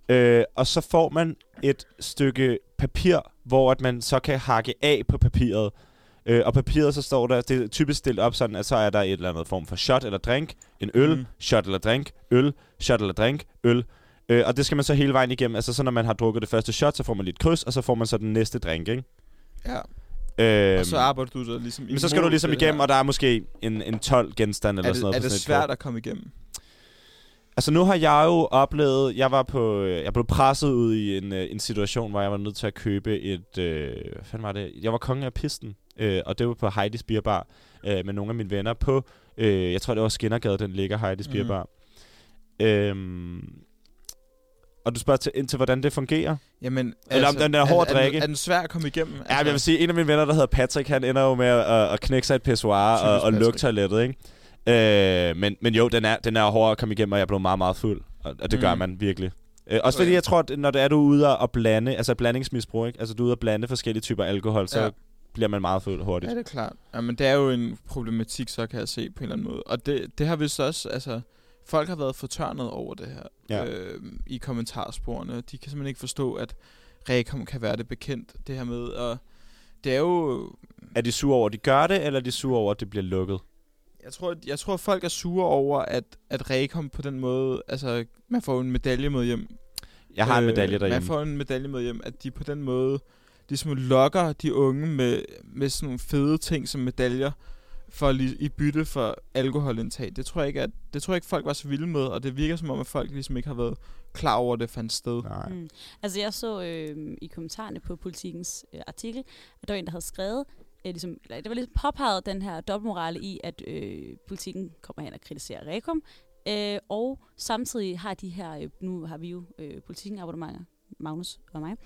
A: Øh, og så får man et stykke papir, hvor at man så kan hakke af på papiret. Øh, og papiret, så står der, det er typisk stillet op sådan, at så er der et eller andet form for shot eller drink, en øl,
B: Mm.
A: mm. shot eller drink, øl, shot eller drink, øl. Øh, og det skal man så hele vejen igennem. Altså så når man har drukket det første shot, så får man lidt kryds, og så får man så den næste drink, ikke?
B: Ja.
A: Øh,
B: Og så arbejder du så ligesom
A: men så skal du ligesom igennem, og der er måske en, en 12 genstande eller
B: er
A: sådan
B: det,
A: noget.
B: er
A: på
B: det
A: sådan et
B: svært at komme igennem?
A: Altså nu har jeg jo oplevet, jeg var på, øh, jeg blev presset ud i en, øh, en situation, hvor jeg var nødt til at købe et, øh, hvad fanden var det? Jeg var konge af pisten, øh, og det var på Heidi's Beer Bar øh, med nogle af mine venner på, øh, jeg tror det var Skinnergade, den ligger Heidi's mm. Beer
B: Mhm.
A: Bar. Øhm, og du spørger til, ind til, hvordan det fungerer?
B: Jamen, Eller
A: om den er hård at
B: er,
A: drikke.
B: Er, den- er den svær at komme igennem? Altså-
A: Ja, men jeg vil sige, en af mine venner, der hedder Patrick, han ender jo med at, at- at knække sig et pissoir og,
B: Typisk
A: og lukke
B: Patrick.
A: toilettet, ikke? Øh, men, men jo, den er, den er hård at komme igennem, og jeg blev meget, meget fuld. Og, og det mm. gør
B: Mm.
A: man virkelig. Øh, også
B: Okay.
A: fordi jeg tror, at når det er, du er ude og blande, altså blandingsmisbrug, ikke? Altså du er ude og blande forskellige typer alkohol, så
B: Ja.
A: ja. bliver man meget fuld
B: Ja,
A: hurtigt.
B: det er klart. Jamen, det er jo en problematik, så kan jeg se på en eller anden måde. Og det, det har vist også, altså, folk har været fortørnet over det her
A: Ja.
B: øh, i kommentarsporene. De kan simpelthen ikke forstå, at Rekom kan være det bekendt, det her med. Og det er jo
A: Er de sure over, at de gør det, eller er de sure over, at det bliver lukket?
B: Jeg tror, jeg tror folk er sure over, at, at Rekom på den måde... Altså, man får en medalje med hjem.
A: Jeg har øh, en
B: Øh,
A: medalje derhjemme.
B: Man får en medalje med hjem, at de på den måde ligesom lokker de unge med, med sådan nogle fede ting som medaljer for li- i bytte for alkoholindtag. Det tror jeg ikke, at, det tror jeg ikke folk var så vilde med, og det virker som om, at folk ligesom ikke har været klar over, at det fandt sted.
A: Nej.
E: Mm. Altså jeg så øh, i kommentarerne på politikens øh, artikel, at der var en, der havde skrevet, øh, ligesom, eller det var ligesom påpeget den her dobbeltmorale i, at øh, politikken kommer hen og kritiserer Rekum, øh, og samtidig har de her, øh, nu har vi jo øh, politikken abonnementer, Magnus og mig,
B: Jeg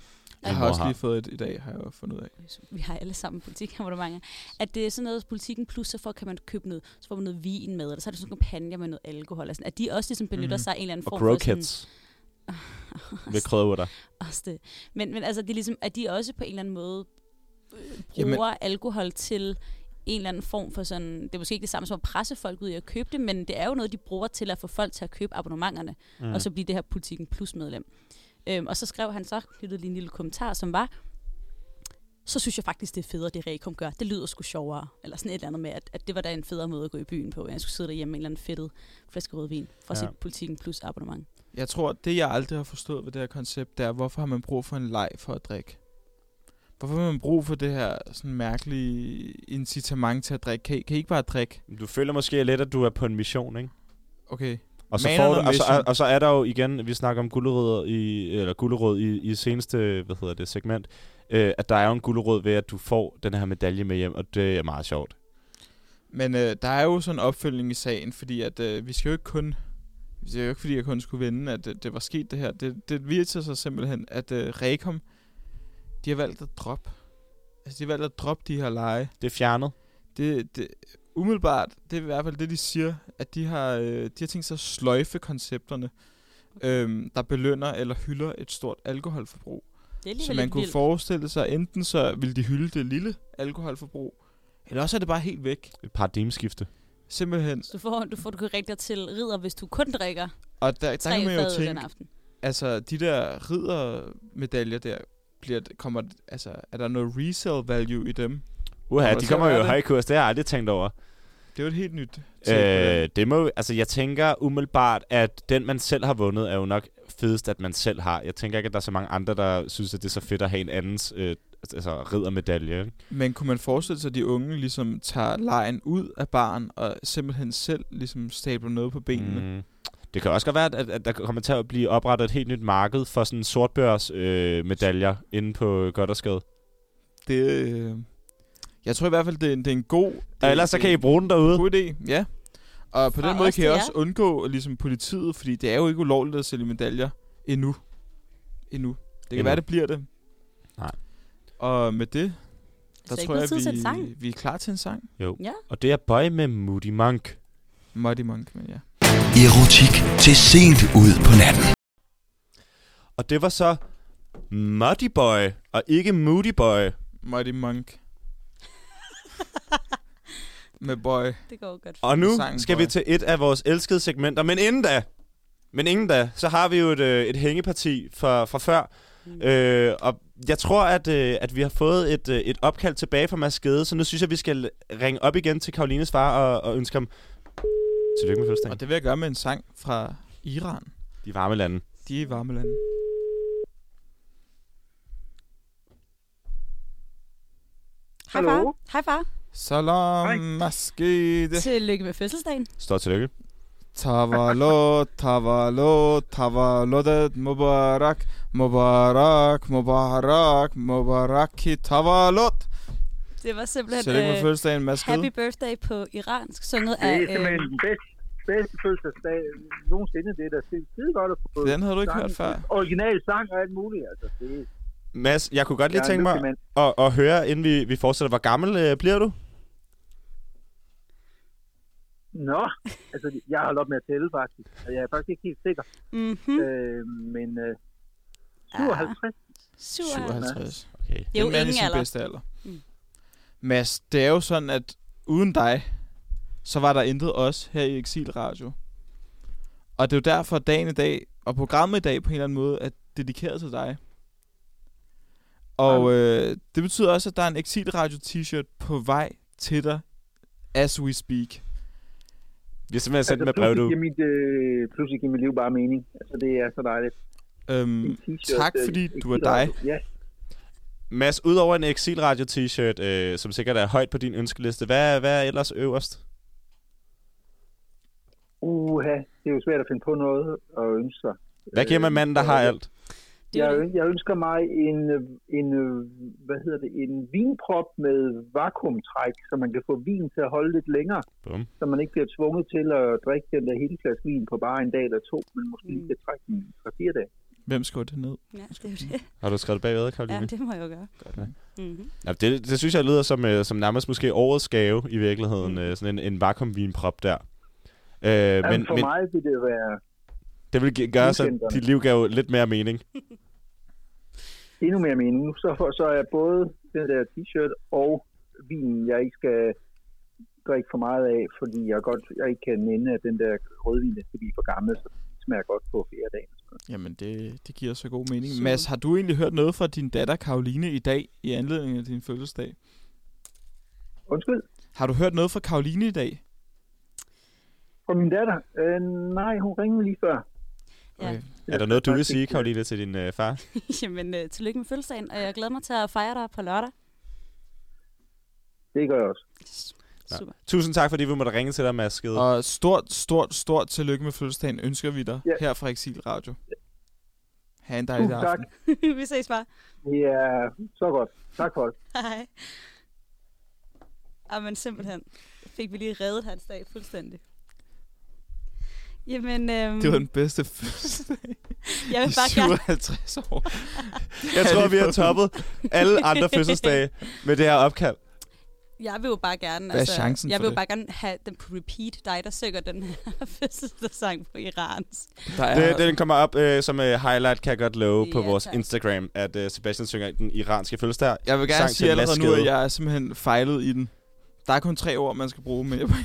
A: Min
B: har
A: mor
B: også
A: har.
B: lige fået et i dag, har jeg jo fundet ud af.
E: vi har alle sammen politikabonnementer, at det er sådan noget, politikken plus, så får, kan man købe noget, så får man noget vin med, eller så er det sådan en kampagne med noget alkohol, eller sådan, at de også ligesom benytter
B: Mhm.
E: mm-hmm. sig af en eller anden
A: Mm. Og
E: form for sådan,
A: croquettes med krydderurter.
E: Også det. Men, men altså, det er ligesom, at de også på en eller anden måde øh, bruger
B: Jamen-
E: Jamen. alkohol til en eller anden form for sådan... Det er måske ikke det samme som at presse folk ud i at købe det, men det er jo noget, de bruger til at få folk til at købe abonnementerne, mm. og så blive det her Politiken Plus-medlem. Øhm, og så skrev han så, knyttede lige en lille kommentar, som var, så synes jeg faktisk, det er federe, det Rekom gør. Det lyder sgu sjovere. Eller sådan et eller andet med, at, at det var da en federe måde at gå i byen på. end at Jeg skulle sidde derhjemme med en eller anden fedtet flaske rødvin fra
A: Ja.
E: ja. sit Politiken Plus abonnement.
B: Jeg tror, det jeg aldrig har forstået ved det her koncept, det er, hvorfor har man brug for en leg for at drikke? Hvorfor har man brug for det her sådan mærkelige incitament til at drikke? Kan I, kan I ikke bare drikke?
A: Mm. Du føler måske lidt, at du er på en mission, ikke?
B: Okay.
A: Og så,
B: Man
A: får
B: on
A: du,
B: a
A: og, så,
B: mission.
A: og så er der jo igen, vi snakker om gulerødder i, eller gulerød i, i seneste, hvad hedder det, segment, øh, at der er jo en gulderød ved, at du får den her medalje med hjem, og det er meget sjovt.
B: Men øh, der er jo sådan en opfølgning i sagen, fordi at øh, vi skal jo ikke kun... Det er jo ikke, fordi jeg kun skulle vinde, at øh, det, det var sket det her. Det, det viser sig simpelthen, at øh, Rekom, de har valgt at droppe. Altså, de har valgt at droppe de her lege.
A: Det er fjernet.
B: Det, det, umiddelbart, det er i hvert fald det, de siger, at de har, øh, de har tænkt sig at sløjfe koncepterne, øhm, der belønner eller hylder et stort alkoholforbrug.
E: Det er
B: Så
E: alligevel
B: man
E: lidt
B: kunne
E: vildt.
B: forestille sig, enten så ville de hylde det lille alkoholforbrug, eller også er det bare helt væk.
A: Et paradigmeskifte.
B: Simpelthen.
E: Så du får, du får du kan rigtig til ridder, hvis du kun drikker
B: Og der, der
E: tre
B: kan man jo
E: fad den
B: tænke,
E: aften.
B: altså de der riddermedaljer der, bliver, det- kommer, det- altså, er der noget resale value i dem?
A: Uha,
B: Kommer
A: de
B: der
A: kommer
B: til at
A: jo i
B: være
A: høj kurs, det har jeg aldrig tænkt over.
B: Det er jo et helt nyt take på det.
A: Øh, det må, jo- altså, jeg tænker umiddelbart, at den, man selv har vundet, er jo nok fedest, at man selv har. Jeg tænker ikke, at der er så mange andre, der synes, at det er så fedt at have en andens øh, altså, riddermedalje. ikke?
B: Men kunne man forestille sig, at de unge ligesom tager lejen ud af baren og simpelthen selv ligesom stabler noget på benene? Mm.
A: Mm. Det kan også godt være, at, at der kommer til at blive oprettet et helt nyt marked for sådan sortbørs øh, medaljer inde på godt og skade.
B: Det, øh, jeg tror i hvert fald, det er, en- det er en god...
A: Og ellers så kan I bruge den derude.
B: God idé, ja. Og på
E: Fra
B: den måde
E: os
B: kan jeg
E: til
B: også undgå ligesom politiet, fordi det er jo ikke ulovligt at sælge medaljer endnu. Endnu. Det kan
A: Endnu.
B: endnu. være, det bliver det.
A: Nej.
B: Og med det,
E: Så
B: der
E: Altså, er det
B: tror
E: ikke
B: jeg,
E: blevet tid til en sang.
B: vi, vi er klar til en sang.
E: Ja.
A: Og det er Boy med Moody Monk.
B: Muddy Monk, men ja.
G: Erotik til sent ud på natten.
A: Og det var så Muddy Boy, og ikke Moody Boy.
B: Muddy Monk med Boy.
E: det går godt.
A: Og nu
B: Sangen
A: skal
B: Boy.
A: vi til et af vores elskede segmenter. Men inden da, men inden da så har vi jo et, øh, et hængeparti fra, fra før.
E: Mm.
A: Øh, og jeg tror, at, øh, at vi har fået et, øh, et opkald tilbage fra Mads Gede, så nu synes jeg, vi skal ringe op igen til Karolines far og, og ønske ham tillykke med fødselsdagen.
B: Og det vil jeg gøre med en sang fra Iran.
A: De varme lande.
B: De er i varme lande.
E: Hej far. Hej far.
B: Salam maskide.
E: Tillykke med fødselsdagen.
A: Stort tillykke.
B: Tavalo, tavalo, tavalodet mubarak, mubarak, mubarak, mubaraki tavalot.
E: Det var simpelthen
B: Tillykke med
E: øh,
B: fødselsdagen,
E: Happy
B: maskide.
E: Birthday på iransk, sunget
H: Det
E: af... øh,
H: er simpelthen den bedste, bedste fødselsdag nogensinde. Det er da skide godt at få
B: Den havde du ikke hørt før.
H: original sang og alt muligt. Altså, det er,
A: Mads, jeg kunne godt lige
H: jeg er
A: tænke
H: en
A: mig
H: lykkelig mand.
A: at, at høre, inden vi, vi fortsætter, hvor gammel øh, bliver du?
H: Nå, altså, jeg har holdt op med at tælle faktisk. Og jeg er faktisk ikke helt sikker.
E: mm-hmm.
H: Øh, men øh, 57.
B: 57.
A: Okay.
E: Det er jo
B: en mand i
E: ingen
B: sin
E: alder.
B: bedste alder.
E: Mm.
B: Mads, det er jo sådan, at uden dig, så var der intet os her i Exil Radio. Og det er jo derfor, at dagen i dag, og programmet i dag på en eller anden måde, er dedikeret til dig. Og øh, det betyder også, at der er en Exil Radio t-shirt på vej til dig, as we speak.
A: Vi har simpelthen sendt
H: Altså,
A: med brev,
H: pludselig
A: du.
H: giver mit, øh, pludselig giver mit liv bare mening. Altså, det er så dejligt.
B: Øhm,
H: En t-shirt,
B: tak,
H: øh,
B: fordi
H: en
B: du er
H: t-shirt.
B: dig.
H: Ja,
A: Mads, udover en Exilradio t-shirt, øh, som sikkert er højt på din ønskeliste, hvad, hvad er ellers øverst?
H: uha. Det er jo svært at finde på noget at ønske sig.
A: Hvad giver
B: Øh,
A: man manden, der har alt?
E: Det
H: Jeg,
E: er jo
H: øn- jeg ønsker mig en, øh, en, øh, hvad hedder det, en vinprop med vakuumtræk, så man kan få vin til at holde lidt længere.
A: Bum.
H: Så man ikke bliver tvunget til at drikke den der hele flaske vin på bare en dag eller to, men måske mm. kan trække den fra fire dage.
B: Hvem skriver det ned?
E: Ja, det er jo det.
A: Har du skrevet det bagved,
E: Ja,
A: Karoline?
E: det må jeg jo gøre.
B: Godt, nok.
E: Mm-hmm.
A: Ja, det... Det, det synes jeg lyder som, øh, som nærmest måske årets gave i virkeligheden. Mm. Øh, sådan en, en vakuumvinprop der. Øh,
H: Ja,
A: men,
H: men, Altså, for
A: men
H: men... mig vil det være
A: det vil gi- gøre så
H: Weekenderne.
A: dit liv gav lidt mere mening.
H: endnu mere mening. Nu så, for, så er både den der t-shirt og vinen, jeg ikke skal drikke for meget af, fordi jeg, godt, jeg ikke kan nænde, at den der rødvin, den skal blive for gammel, så den smager godt på flere dage.
B: Jamen, det, det giver så god mening.
E: Super.
B: Mads, har du egentlig hørt noget fra din datter Karoline i dag, i anledning af din fødselsdag?
H: Undskyld?
B: Har du hørt noget fra Karoline i dag?
H: Fra min datter? Øh, nej, hun ringede lige før.
E: Ja.
B: Okay.
A: Er der noget, du vil sige, Karoline, til din øh, far?
E: Jamen, øh, tillykke med fødselsdagen, og jeg glæder mig til at fejre dig på lørdag.
H: Det gør jeg også.
A: Ja.
E: Super.
A: Tusind tak, fordi vi måtte ringe til dig, Mads Skede.
B: Og stort, stort, stort tillykke med fødselsdagen ønsker vi dig
H: Ja.
B: her fra Exil Radio. Ha' en dejlig
H: Tusind tak.
B: aften.
E: Vi ses bare.
H: Ja, så godt. Tak for det.
E: Hej. Ah, men simpelthen. Fik vi lige reddet hans dag fuldstændig. Jamen, øhm,
B: Det var den bedste fødselsdag
E: jeg
B: i
E: vil bare gerne...
B: 57 år.
A: Jeg tror,
B: det
A: vi har
B: var-
A: toppet alle andre fødselsdage med det her opkald.
E: Jeg vil jo bare gerne... altså,
B: Hvad er chancen
E: Jeg
B: for
E: vil jo
B: det?
E: bare gerne have den på repeat. Dig, der synger den her fødselsdagssang på Irans.
B: Der er,
A: Det, den kommer op øh, som øh, highlight, kan jeg godt love, på
E: Ja,
A: vores
E: tak.
A: Instagram, at øh, Sebastian synger den iranske fødselsdag.
B: Jeg vil gerne
A: sang
B: sige
A: til
B: allerede nu,
A: Laskede.
B: at jeg er simpelthen fejlet i den. Der er kun tre ord, man skal bruge, men jeg, på en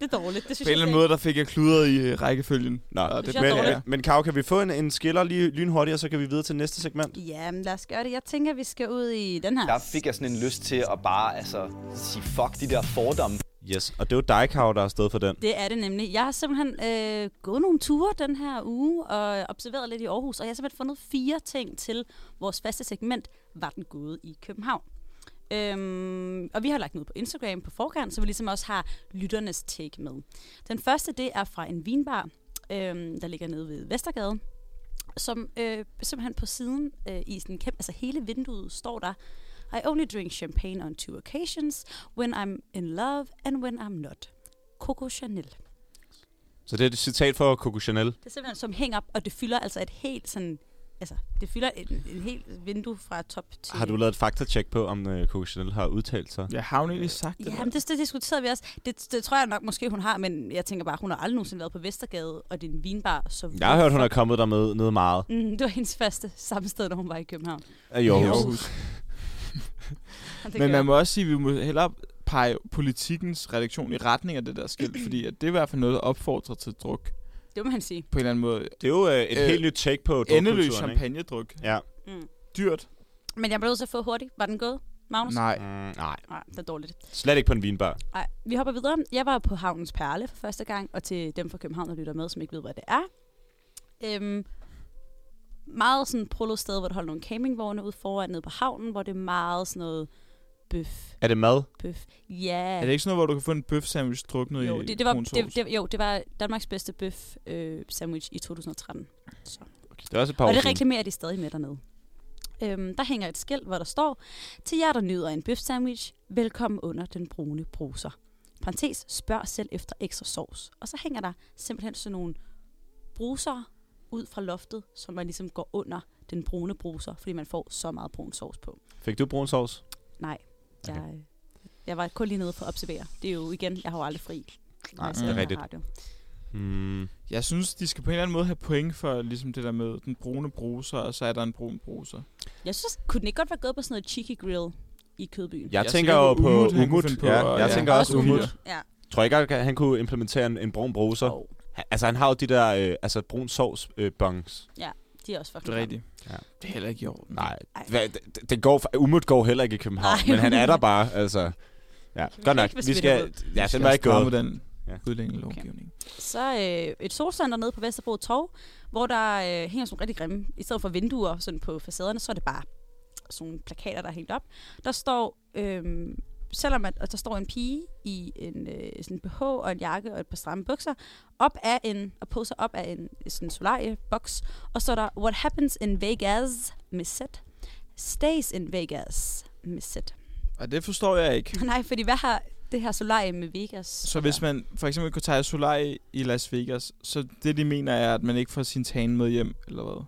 E: Det er dårligt. Det synes
B: eller
E: jeg
B: anden
E: ikke.
B: måde, der fik jeg kludret i øh, rækkefølgen.
A: Nå,
B: Og
E: det
B: det
E: er
A: men,
B: beklager
E: dårligt.
A: men,
B: jeg.
A: men Kav, kan vi få en, en skiller lige lynhurtigt, og så kan vi videre til næste segment?
E: Ja, men lad os gøre det. Jeg tænker, vi skal ud i den her.
I: Der fik jeg sådan en lyst til at bare altså, sige fuck de der fordomme.
A: Yes, og det var dig, Kav, der er stået for den.
E: Det er det nemlig. Jeg har simpelthen øh, gået nogle ture den her uge og observeret lidt i Aarhus, og jeg har simpelthen fundet fire ting til vores faste segment, Var den gået i København? Øhm, og vi har lagt den ud på Instagram på forkant, så vi ligesom også har lytternes take med. Den første, det er fra en vinbar, øhm, der ligger nede ved Vestergade, som øh, simpelthen på siden øh, i sådan en kæmpe, altså hele vinduet står der, I only drink champagne on two occasions, when I'm in love and when I'm not. Coco Chanel.
A: Så det er et citat for Coco Chanel.
E: Det er simpelthen som hæng op, og det fylder altså et helt sådan... Altså, det fylder et, et helt vindue fra top til...
A: Har du lavet et faktatjek på, om øh, Coco Chanel har udtalt sig?
B: Jeg har jo egentlig sagt det.
E: Ja,
B: der.
E: men det, det diskuterede vi også. Det, det tror jeg nok måske, hun har, men jeg tænker bare, hun har aldrig nogensinde været på Vestergade, og det er en vinbar, så...
A: Jeg har hørt, hun er kommet der med noget meget
E: Mm, det var hendes første samme sted, når hun var i København.
A: øh, i Aarhus.
B: Aarhus.
E: Og det
A: øh,
B: Men
E: gør-
B: man må også sige, at vi må hellere pege politikens redaktion i retning af det der skilt, fordi at det er i hvert fald noget, der opfordrer til druk på
E: Det må han sige.
B: en eller anden måde.
A: Det er jo øh, et
B: Øh,
A: øh, helt nyt take på
B: Endeløs
A: drukkulturen, ikke?
B: champagnedruk.
A: Ja.
E: Mm.
B: Dyrt?
E: Men jeg blev nødt til at få hurtigt. Var den gået, Magnus?
B: Nej.
A: Mm, nej,
E: Nej, det er dårligt.
A: slet ikke på en vinbar.
E: Nej, vi hopper videre. Jeg var på Havnens Perle for første gang, og til dem fra København, der lytter med, som ikke ved, hvad det er. Øhm, meget sådan et prullet sted, hvor der holder nogle campingvogne ude foran nede på havnen, hvor det er meget sådan noget bøf,
A: Er det mad?
E: bøf. Ja,
B: Er det ikke sådan noget, hvor du kan få en bøf sandwich druknet
E: jo,
B: i
E: det, det var,
B: brunsovs?
E: det, det, jo, det var Danmarks bedste bøf øh, sandwich i 2013.
A: Det er også et par
E: Og
A: år
E: det
A: siden.
E: reklamerer de stadig med dernede. Øhm, der hænger et skilt, hvor der står, til jer, der nyder en bøf sandwich, velkommen under den brune bruser. Parentes, spørg selv efter ekstra sovs. Og så hænger der simpelthen sådan nogle bruser ud fra loftet, som man ligesom går under den brune bruser, fordi man får så meget brun sovs på.
A: Fik du brun sovs?
E: Nej, jeg,
A: Okay.
E: okay. jeg var kun lige nede for at observere. Det er jo igen, jeg har jo aldrig fri. når jeg
A: det er
E: sender
A: rigtigt.
E: radio.
A: Mm.
B: Jeg synes, de skal på en eller anden måde have point for ligesom det der med den brune bruser, og så er der en brun bruser.
E: Jeg synes, kunne den ikke godt være gået på sådan noget cheeky grill i Kødbyen?
A: Jeg,
B: Jeg
A: tænker
B: tænker
A: jo
B: på
A: på
B: Umut, han kunne
A: Umut.
B: finde på,
A: ja,
B: og-
A: jeg
B: ja.
A: tænker
B: Og
A: også
B: Sofia.
A: Umut.
E: Ja.
A: Tror ikke, at han kunne implementere en, en brun bruser?
E: Jo,
A: Han, altså, han har jo de der øh, altså, brun sovs øh, bongs.
E: de er også
B: Det
E: fucking
B: er
E: grimme.
B: rigtigt.
A: Ja.
B: Det er heller ikke i orden.
A: Nej,
E: Ej.
A: hvad, det, det går, Umut går heller ikke i København,
E: Nej.
A: men han er der bare, altså. Ja,
E: vi
A: godt nok.
E: ikke
A: Vi
E: besmitte
A: skal,
E: Umut?
A: ja,
B: Vi
A: den
B: skal
A: var ikke
B: stramme
A: gået.
B: den
A: Ja.
B: udlændingelovgivning.
E: Så øh, et solcenter nede på Vesterbro Torv, hvor der øh, hænger sådan nogle rigtig grimme. I stedet for vinduer sådan på facaderne, så er det bare sådan nogle plakater, der er hængt op. Der står, øh, selvom at, at der står en pige i en øh, sådan en BH og en jakke og et par stramme bukser, op af en, og poser op af en sådan solarieboks, og så er der, What happens in Vegas, Miss Set, stays in Vegas, Miss Set.
B: Og det forstår jeg ikke.
E: Nej, fordi hvad har det her solarie med Vegas?
B: Så hvis man for eksempel kunne tage Solari i Las Vegas, så det de mener er, at man ikke får sin tan med hjem, eller hvad?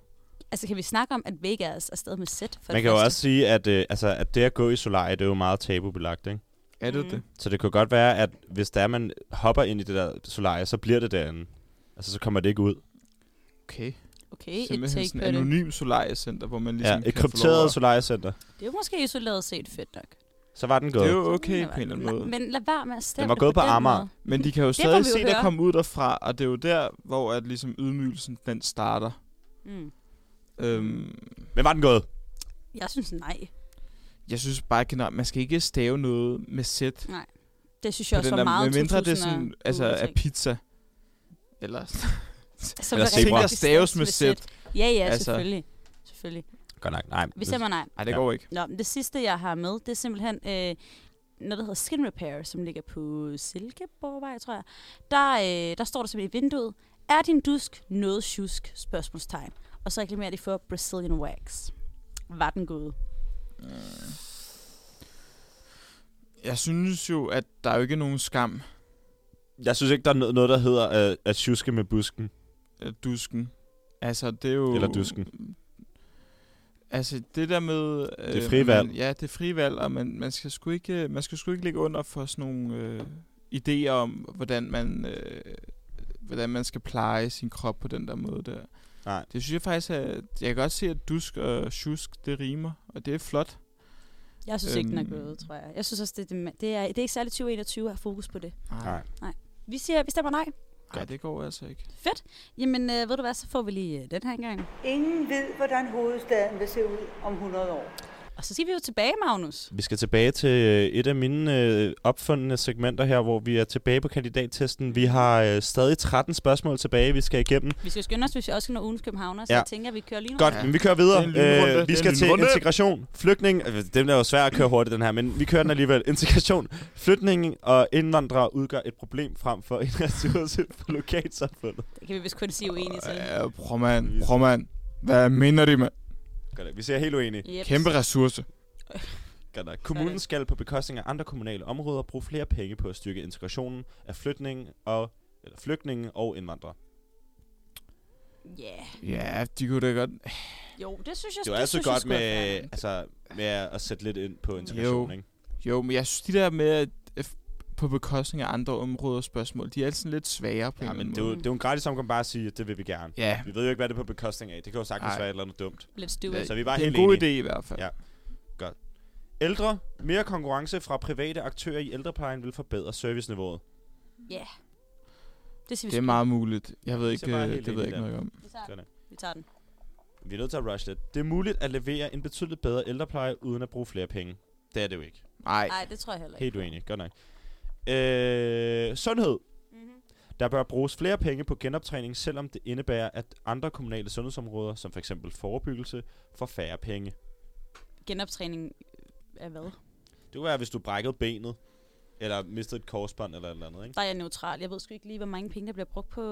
E: Altså, kan vi snakke om, at Vegas er stadig med sæt? For
A: Man
E: det
A: kan jo
E: første?
A: også sige, at, øh, altså, at det at gå i solarie, det er jo meget tabubelagt, ikke?
B: Er det
E: Mhm.
B: mm. det?
A: Så det kunne godt være, at hvis der man hopper ind i det der solarie, så bliver det derinde. Altså, så kommer det ikke ud.
B: Okay.
E: Okay, et
B: Simpelthen
E: take
B: sådan
E: på
B: en
E: det.
B: anonym Solari-center, hvor man ligesom
A: Ligesom ja, et
B: kan få lov
A: krypteret
B: at-
A: solariecenter.
E: Det er måske isoleret set fedt nok.
A: Så var den
B: Det er
A: gået.
B: jo okay
E: Det
B: på
E: var-
B: en eller anden
E: Nej,
B: måde.
E: Men lad være med at stemme
A: var gået på Amager.
B: Men de kan jo
E: Det må vi
B: stadig
E: jo
B: se dig
E: høre.
B: komme ud derfra, og det er jo der, hvor at ligesom ydmygelsen den starter.
E: Mm.
B: Øhm,
A: Men var den gået?
E: Jeg synes nej.
B: jeg synes bare generelt, man skal ikke stave noget med sæt
E: Det synes jeg
B: på
E: også
B: den
E: var
B: der,
E: meget
B: medmindre det er
E: 2000'er
B: sådan, altså er
E: ting.
B: pizza. Eller
E: Så
A: Eller
E: vil
A: zebra.
E: rigtig
A: Ting,
B: der
E: rigtig
B: staves
E: sæt
B: med sæt.
E: Ja, ja,
B: Altså.
E: selvfølgelig. Selvfølgelig.
A: Godt nok, nej.
E: Vi stemmer nej.
B: Nej, det
A: Ja.
B: går ikke.
E: Nå, men det sidste, jeg har med, det er simpelthen øh, noget, der hedder Skin Repair, som ligger på Silkeborgvej, tror jeg. Der, øh, der står der simpelthen i vinduet, Er din dusk noget tjusk? Spørgsmålstegn. Og så reklamerer de for Brazilian Wax. Var den god?
B: Jeg synes jo, at der er jo ikke nogen skam
A: Jeg synes ikke, der er no- noget, der hedder øh, at tjuske med busken.
B: af dusken. Altså, det er jo...
A: Eller dusken.
B: Altså, det der med... Øh,
A: er frivalg.
B: Man, ja, det er frivalg, og man, man, skal sgu ikke, øh, man skal sgu ikke ligge under for sådan nogle øh, idéer om, hvordan man, øh, hvordan man skal pleje sin krop på den der måde der.
A: Nej.
B: Det synes jeg faktisk, at jeg kan godt se, at dusk og tjusk, det rimer, og det er flot.
E: Jeg synes øhm. ikke, den er
B: Øhm.
E: god, tror jeg. Jeg synes også, det, det, det, er, det er ikke særlig 2021 at have fokus på det.
A: Nej.
E: Vi siger, vi stemmer nej.
B: Nej, det går altså ikke.
E: Fedt. Jamen, øh, ved du hvad, så får vi lige øh, den her engang.
F: Ingen ved, hvordan hovedstaden vil se ud om 100 år.
E: Og så siger vi jo tilbage, Magnus.
A: Vi skal tilbage til øh, et af mine øh, opfundne segmenter her, hvor vi er tilbage på kandidattesten. Vi har øh, stadig 13 spørgsmål tilbage, vi skal igennem.
E: Vi skal skynde os, hvis vi også skal nå ugens Københavner, så
A: Ja.
E: ja. jeg tænker, at vi kører lige nu.
A: Godt,
B: Ja.
A: men vi kører
B: Det er en lynrunde.
A: videre.
B: Det er
A: Øh, vi
B: en
A: skal til
B: lynrunde.
A: integration, flygtning. øh, Dem er jo svært at køre hurtigt, den her, men vi kører den alligevel. Integration, flygtning og indvandrere udgør et problem frem for en ressource for lokalsamfundet.
E: Det kan vi vist kun sige uenige til.
B: Ja, prøv mand, prøv mand. Hvad mener de med?
A: Godt, vi ser helt uenige.
E: Yep.
B: Kæmpe ressource.
A: Godt nok. Kommunen skal på bekostning af andre kommunale områder bruge flere penge på at styrke integrationen af flytning og eller flygtninge og indvandrere.
E: Ja, yeah.
B: Ja, de kunne da godt...
E: jo, det synes jeg
A: Det er jo
E: det
A: altid
E: synes jeg
A: godt
E: sgu er
A: med,
E: fair.
A: altså, med at sætte lidt ind på integration,
B: Jo.
A: ikke?
B: Jo, men jeg synes, de der med at at på bekostning af andre områder spørgsmål, de er altid sådan lidt svære på
A: Ja,
B: en
A: men det er,
B: eller
A: jo,
B: anden
A: det er jo en gratis omgang bare at sige, at det vil vi gerne.
B: måde. Ja,
A: Vi ved jo ikke, hvad det er på bekostning af. Det kan jo sagtens
B: Nej.
A: være et eller andet dumt.
E: Let's do
B: Ja,
E: it.
A: Så vi er bare
B: øh, det er en
A: helt
B: god
A: enige.
B: idé i hvert fald.
A: Ja. Ældre, mere konkurrence fra private aktører i ældreplejen vil forbedre serviceniveauet.
E: Det siger vi
B: Det er
E: sgu.
B: meget muligt. Jeg ved
A: Det er
B: ikke,
A: bare
B: øh,
A: helt
B: det ved
A: enig
B: jeg ikke
A: der.
B: noget om.
E: Vi tager, den.
A: Sådan.
E: vi tager den.
A: Vi er nødt til at rush lidt. Det er muligt at levere en betydeligt bedre ældrepleje uden at bruge flere penge. Det er det jo ikke.
B: Nej,
E: Nej, det tror jeg heller ikke.
A: Helt uenig. Godt nok. Øh, sundhed.
E: Mm-hmm.
A: Der bør bruges flere penge på genoptræning, selvom det indebærer, at andre kommunale sundhedsområder, som f.eks. forebyggelse, får færre penge.
E: Genoptræning af hvad?
A: Det kunne være, hvis du brækkede benet, eller mistede et korsbånd, eller et eller andet, ikke?
E: Der er jeg neutral. Jeg ved sgu ikke lige, hvor mange penge, der bliver brugt på...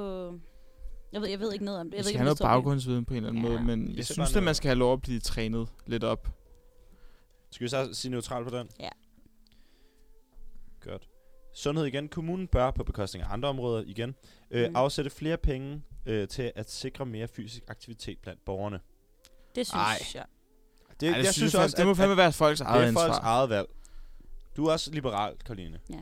E: Jeg ved, jeg ved ikke noget om det.
B: vi
E: Jeg ved
B: skal
E: ikke,
B: have
E: om
B: noget
E: det står-
B: baggrundsviden på en eller anden
E: Ja.
B: måde, men
A: Vi
B: jeg
A: ser bare
B: synes, at man
A: noget.
B: skal have lov at blive trænet lidt op.
A: Skal vi så sige neutral på den?
E: Ja.
A: Godt. Sundhed igen. Kommunen bør på bekostning af andre områder igen øh,
E: Mm.
A: mm. afsætte flere penge øh, til at sikre mere fysisk aktivitet blandt borgerne.
E: Det
B: Nej.
E: synes jeg.
A: Det, Ej,
B: Ej, det, jeg synes også, det må fandme være folks
A: at, det
B: eget
A: er folks
B: ansvar.
A: eget valg. Du er også liberal, Karoline.
E: Ja,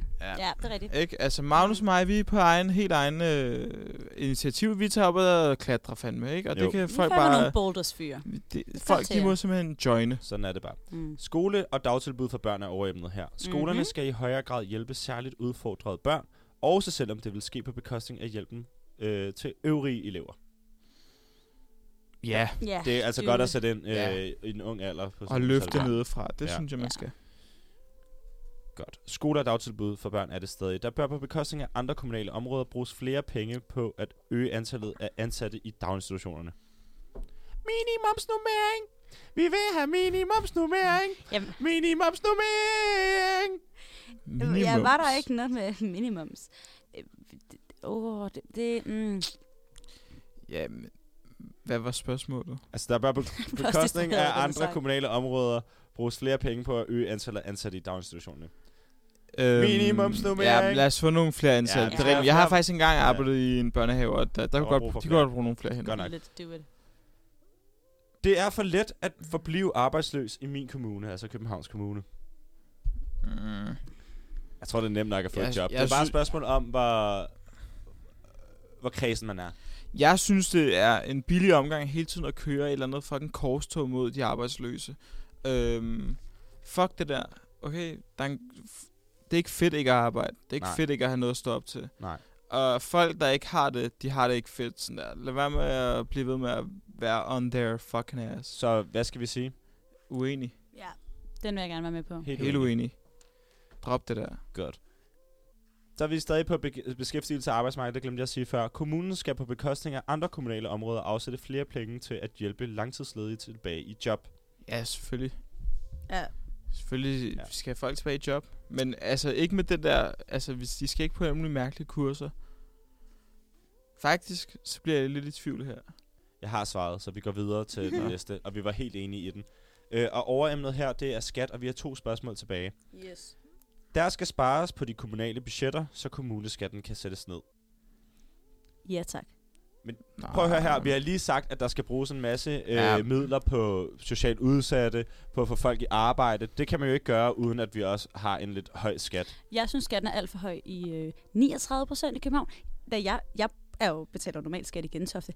E: det er rigtigt.
B: Ikke? Altså, Magnus og mig, vi er på egen, helt egen øh, initiativ. Vi tager op og klatrer fandme, ikke? Og
A: Jo.
B: det kan
E: Nu får
B: folk
E: bare... nogle
B: bare...
E: boulders fyre.
B: Det,
E: skal
B: folk,
E: til
B: de
E: jer.
B: må simpelthen joine.
A: Sådan er det bare.
E: Mm.
A: Skole og dagtilbud for børn er overemnet her. Skolerne
E: Mhm.
A: mm-hmm. skal i højere grad hjælpe særligt udfordrede børn, også selvom det vil ske på bekostning af hjælpen øh, til øvrige elever.
B: Ja,
E: Ja,
A: Det er altså
E: det er
A: godt
E: jo
A: at sætte ind øh,
B: Ja.
A: i en ung alder. På
B: og
A: sådan en
B: løfte
A: salg.
B: nedefra. Det
A: Ja.
B: synes jeg,
E: Ja.
B: man skal.
A: Godt. Skoler og dagtilbud for børn er det stadig. Der bør på bekostning af andre kommunale områder bruges flere penge på at øge antallet af ansatte i daginstitutionerne. Minimumsnummering! Vi vil have minimumsnummering!
E: Jamen.
A: Minimumsnummering!
B: Minimums.
E: Ja, var der ikke noget med minimums? Øh, det- Åh, det... det mm.
B: Ja, men, hvad var spørgsmålet?
A: Altså, der bør på
E: det
A: bekostning
E: hedder, den er
A: af andre
E: sej.
A: kommunale områder bruges flere penge på at øge antallet af ansatte i daginstitutionerne.
B: Øhm,
A: Minimumsnormering.
B: Ja, lad os få nogle flere ansatte.
A: Ja,
B: Ja,
E: ja.
B: det er rigtigt. Jeg har faktisk engang arbejdet i en børnehave, og der, der,
A: var
B: kunne
A: brug for
B: godt, de
A: flere.
B: kunne godt bruge nogle flere hænder.
A: Godt nok.
E: Let's do it.
A: Det er for let at forblive arbejdsløs i min kommune, altså Københavns Kommune.
B: Mm.
A: Jeg tror, det er nemt nok at få
B: Jeg-
A: et job.
B: jeg
A: det er bare et
B: sy-
A: spørgsmål om, hvor, hvor kredsen man er.
B: Jeg synes, det er en billig omgang hele tiden at køre et eller andet fucking korstog mod de arbejdsløse. Øhm, fuck det der. Okay, der er en, det er ikke fedt ikke at arbejde. Det er ikke
A: Nej.
B: Nej. fedt ikke at have noget at stå op til.
A: Nej.
B: Og folk, der ikke har det, de har det ikke fedt. Sådan der. Lad være med at blive ved med at være on their fucking ass.
A: Så hvad skal vi sige?
B: Uenig.
E: Ja, den vil jeg gerne være med på.
A: Helt,
B: Helt uenig. Drop det der.
A: Godt. Så er vi stadig på be- beskæftigelse og arbejdsmarkedet, det glemte jeg at sige før. Kommunen skal på bekostning af andre kommunale områder afsætte flere penge til at hjælpe langtidsledige tilbage i job.
B: Ja, selvfølgelig.
E: Ja.
B: Selvfølgelig
A: Ja.
B: ja. skal folk tilbage i job. Men altså ikke med det der... Altså, hvis de skal ikke på alle mulige mærkelige kurser. Faktisk, så bliver jeg lidt i tvivl her.
A: Jeg har svaret, så vi går videre til den næste, og vi var helt enige i den. Øh, og overemnet her, det er skat, og vi har to spørgsmål tilbage.
E: Yes.
A: Der skal spares på de kommunale budgetter, så kommuneskatten kan sættes ned.
E: Ja, tak.
B: Nej.
A: Prøv at høre her, vi har lige sagt, at der skal bruges en masse øh,
B: Ja.
A: ja. midler på socialt udsatte, på at få folk i arbejde. Det kan man jo ikke gøre, uden at vi også har en lidt høj skat.
E: Jeg synes, skatten er alt for høj i øh, 39 procent i København. Da jeg, jeg er jo betaler normalt skat i Gentofte.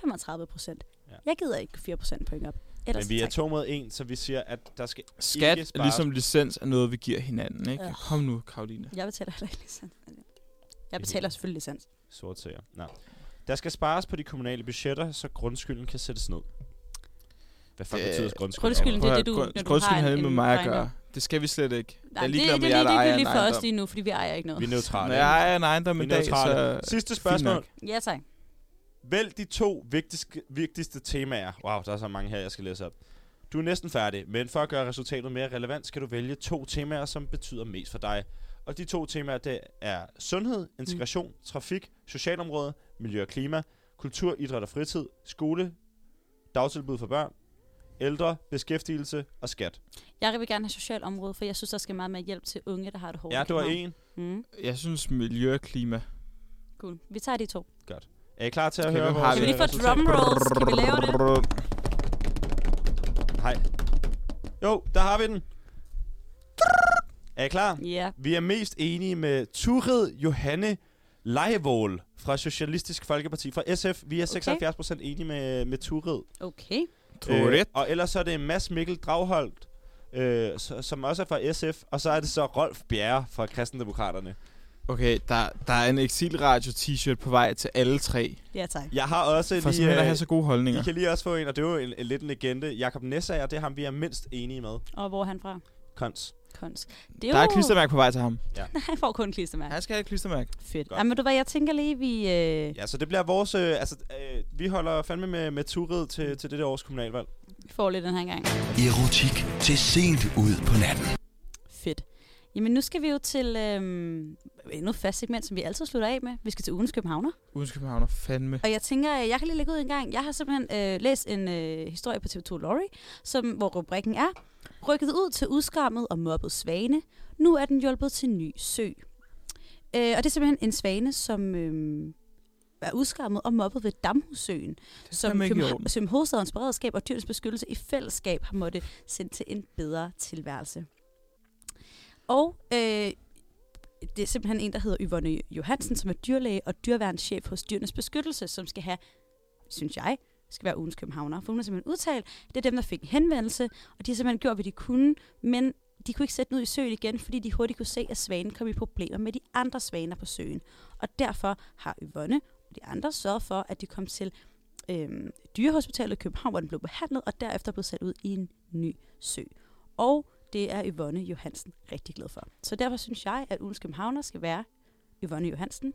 E: 35 procent.
A: Ja.
E: Ja. Jeg gider ikke 4 procent point op. Ellers
A: Men vi er
E: tak.
A: to mod en, så vi siger, at der skal
B: Skat,
A: ikke spares.
B: ligesom licens, er noget, vi giver hinanden, ikke?
E: Øh.
B: Kom nu, Karoline.
E: Jeg betaler heller ikke licens. Jeg betaler selvfølgelig licens.
A: Sort sager. Nej. Der skal spares på de kommunale budgetter, så grundskylden kan sættes ned. Hvad fuck
B: Øh,
A: betyder grundskyld?
E: grundskylden,
B: Prøv at
E: det
B: høre,
E: er det, du-
B: grund-
E: når du
B: grundskylden
E: har
B: havde
E: en-
B: med
E: en
B: mig at
E: ejendom.
B: gøre. Det skal vi slet ikke.
E: Nej,
B: jeg er
E: det, det,
B: ligeglad
E: det,
B: med
E: det
B: jer,
E: er
B: der ejer en
E: ligegyldigt for os
B: ejendom.
E: lige nu, fordi vi ejer ikke noget.
A: Vi er neutrale.
B: Når jeg ejer en ejendom
A: vi
B: i
A: er
B: dag,
A: neutrale.
B: så...
A: Sidste
B: fint nok.
A: spørgsmål.
E: Ja, tak.
A: Vælg de to vigtigste, vigtigste temaer. Wow, der er så mange her, jeg skal læse op. Du er næsten færdig, men for at gøre resultatet mere relevant, skal du vælge to temaer, som betyder mest for dig. Og de to temaer, det er sundhed, integration, mm. trafik, socialområde, miljø og klima, kultur, idræt og fritid, skole, dagtilbud for børn, ældre, beskæftigelse og skat.
E: Jeg vil gerne have socialt område, for jeg synes, der skal meget mere hjælp til unge, der har det hårdt.
A: Ja,
E: i
A: du er
E: København.
A: en.
E: Mm,
B: Jeg synes, miljø og klima.
E: cool. Vi tager de to.
A: Er I klar til at
B: Okay,
A: høre
B: hvem har
A: vores øh,
B: vi?
E: Kan vi lige få
A: resultat?
E: drumrolls? Kan vi lave det?
A: Nej. Jo, der har vi den. Er I klar?
E: Ja.
A: Vi er mest enige med Turid Johanne Lejevold fra Socialistisk Folkeparti fra SF. Vi er 76% enige med, med Turid. Øh,
E: Okay.
B: Turid.
A: og ellers så er det Mads Mikkel Dragholdt, øh, så- som også er fra SF. Og så er det så Rolf Bjerre fra Kristendemokraterne.
B: Okay, der, der er en Exilradio-t-shirt på vej til alle tre.
E: Ja, tak.
A: Jeg har også
B: For
A: lige...
B: simpelthen at have
A: Øh,
B: så gode holdninger.
A: I kan lige også få en, og det er jo en, en, lidt en legende. Jakob Nessager, det er ham, vi er mindst enige med.
E: Og hvor er han fra?
A: Kons.
E: Kons. Det er
B: Der er
E: jo...
B: et klistermærke på vej til ham.
E: Han får kun klistermærke.
B: Han skal have et klistermærke.
E: Fedt.
A: Godt.
E: Jamen, ved du hvad, jeg tænker lige, vi... Øh...
A: Ja, så det bliver vores... Øh, altså, øh, vi holder fandme med, med Turid til, til det der års kommunalvalg.
E: Vi får lidt den her gang.
G: Erotik til sent ud på natten.
E: Fedt. Jamen, nu skal vi jo til øhm, endnu et fast segment, som vi altid slutter af med. Vi skal til ugens Københavner.
B: Uden Københavner, fandme.
E: Og jeg tænker, øh, jeg kan lige lægge ud en gang. Jeg har simpelthen øh, læst en øh, historie på TV2 Lorry, som, hvor rubrikken er Rykket ud til udskammet og mobbet svane. Nu er den hjulpet til ny sø. Øh, og det er simpelthen en svane, som øh, er udskammet og mobbet ved Damhusøen, som,
B: fandme ikke i
E: København,
B: orden.
E: som hovedstadens beredskab og dyrens beskyttelse i fællesskab har måttet sende til en bedre tilværelse. Og øh, det er simpelthen en, der hedder Yvonne Johansen, som er dyrlæge og dyrværnschef hos Dyrenes Beskyttelse, som skal have, synes jeg, skal være ugens københavner. For hun har simpelthen udtalt, at det er dem, der fik en henvendelse, og de har simpelthen gjort, hvad de kunne, men de kunne ikke sætte den ud i søen igen, fordi de hurtigt kunne se, at svanen kom i problemer med de andre svaner på søen. Og derfor har Yvonne og de andre sørget for, at de kom til øhm, dyrehospitalet i København, hvor den blev behandlet, og derefter blev sat ud i en ny sø. Og det er Yvonne Johansen rigtig glad for. Så derfor synes jeg, at ugens københavner skal være Yvonne Johansen,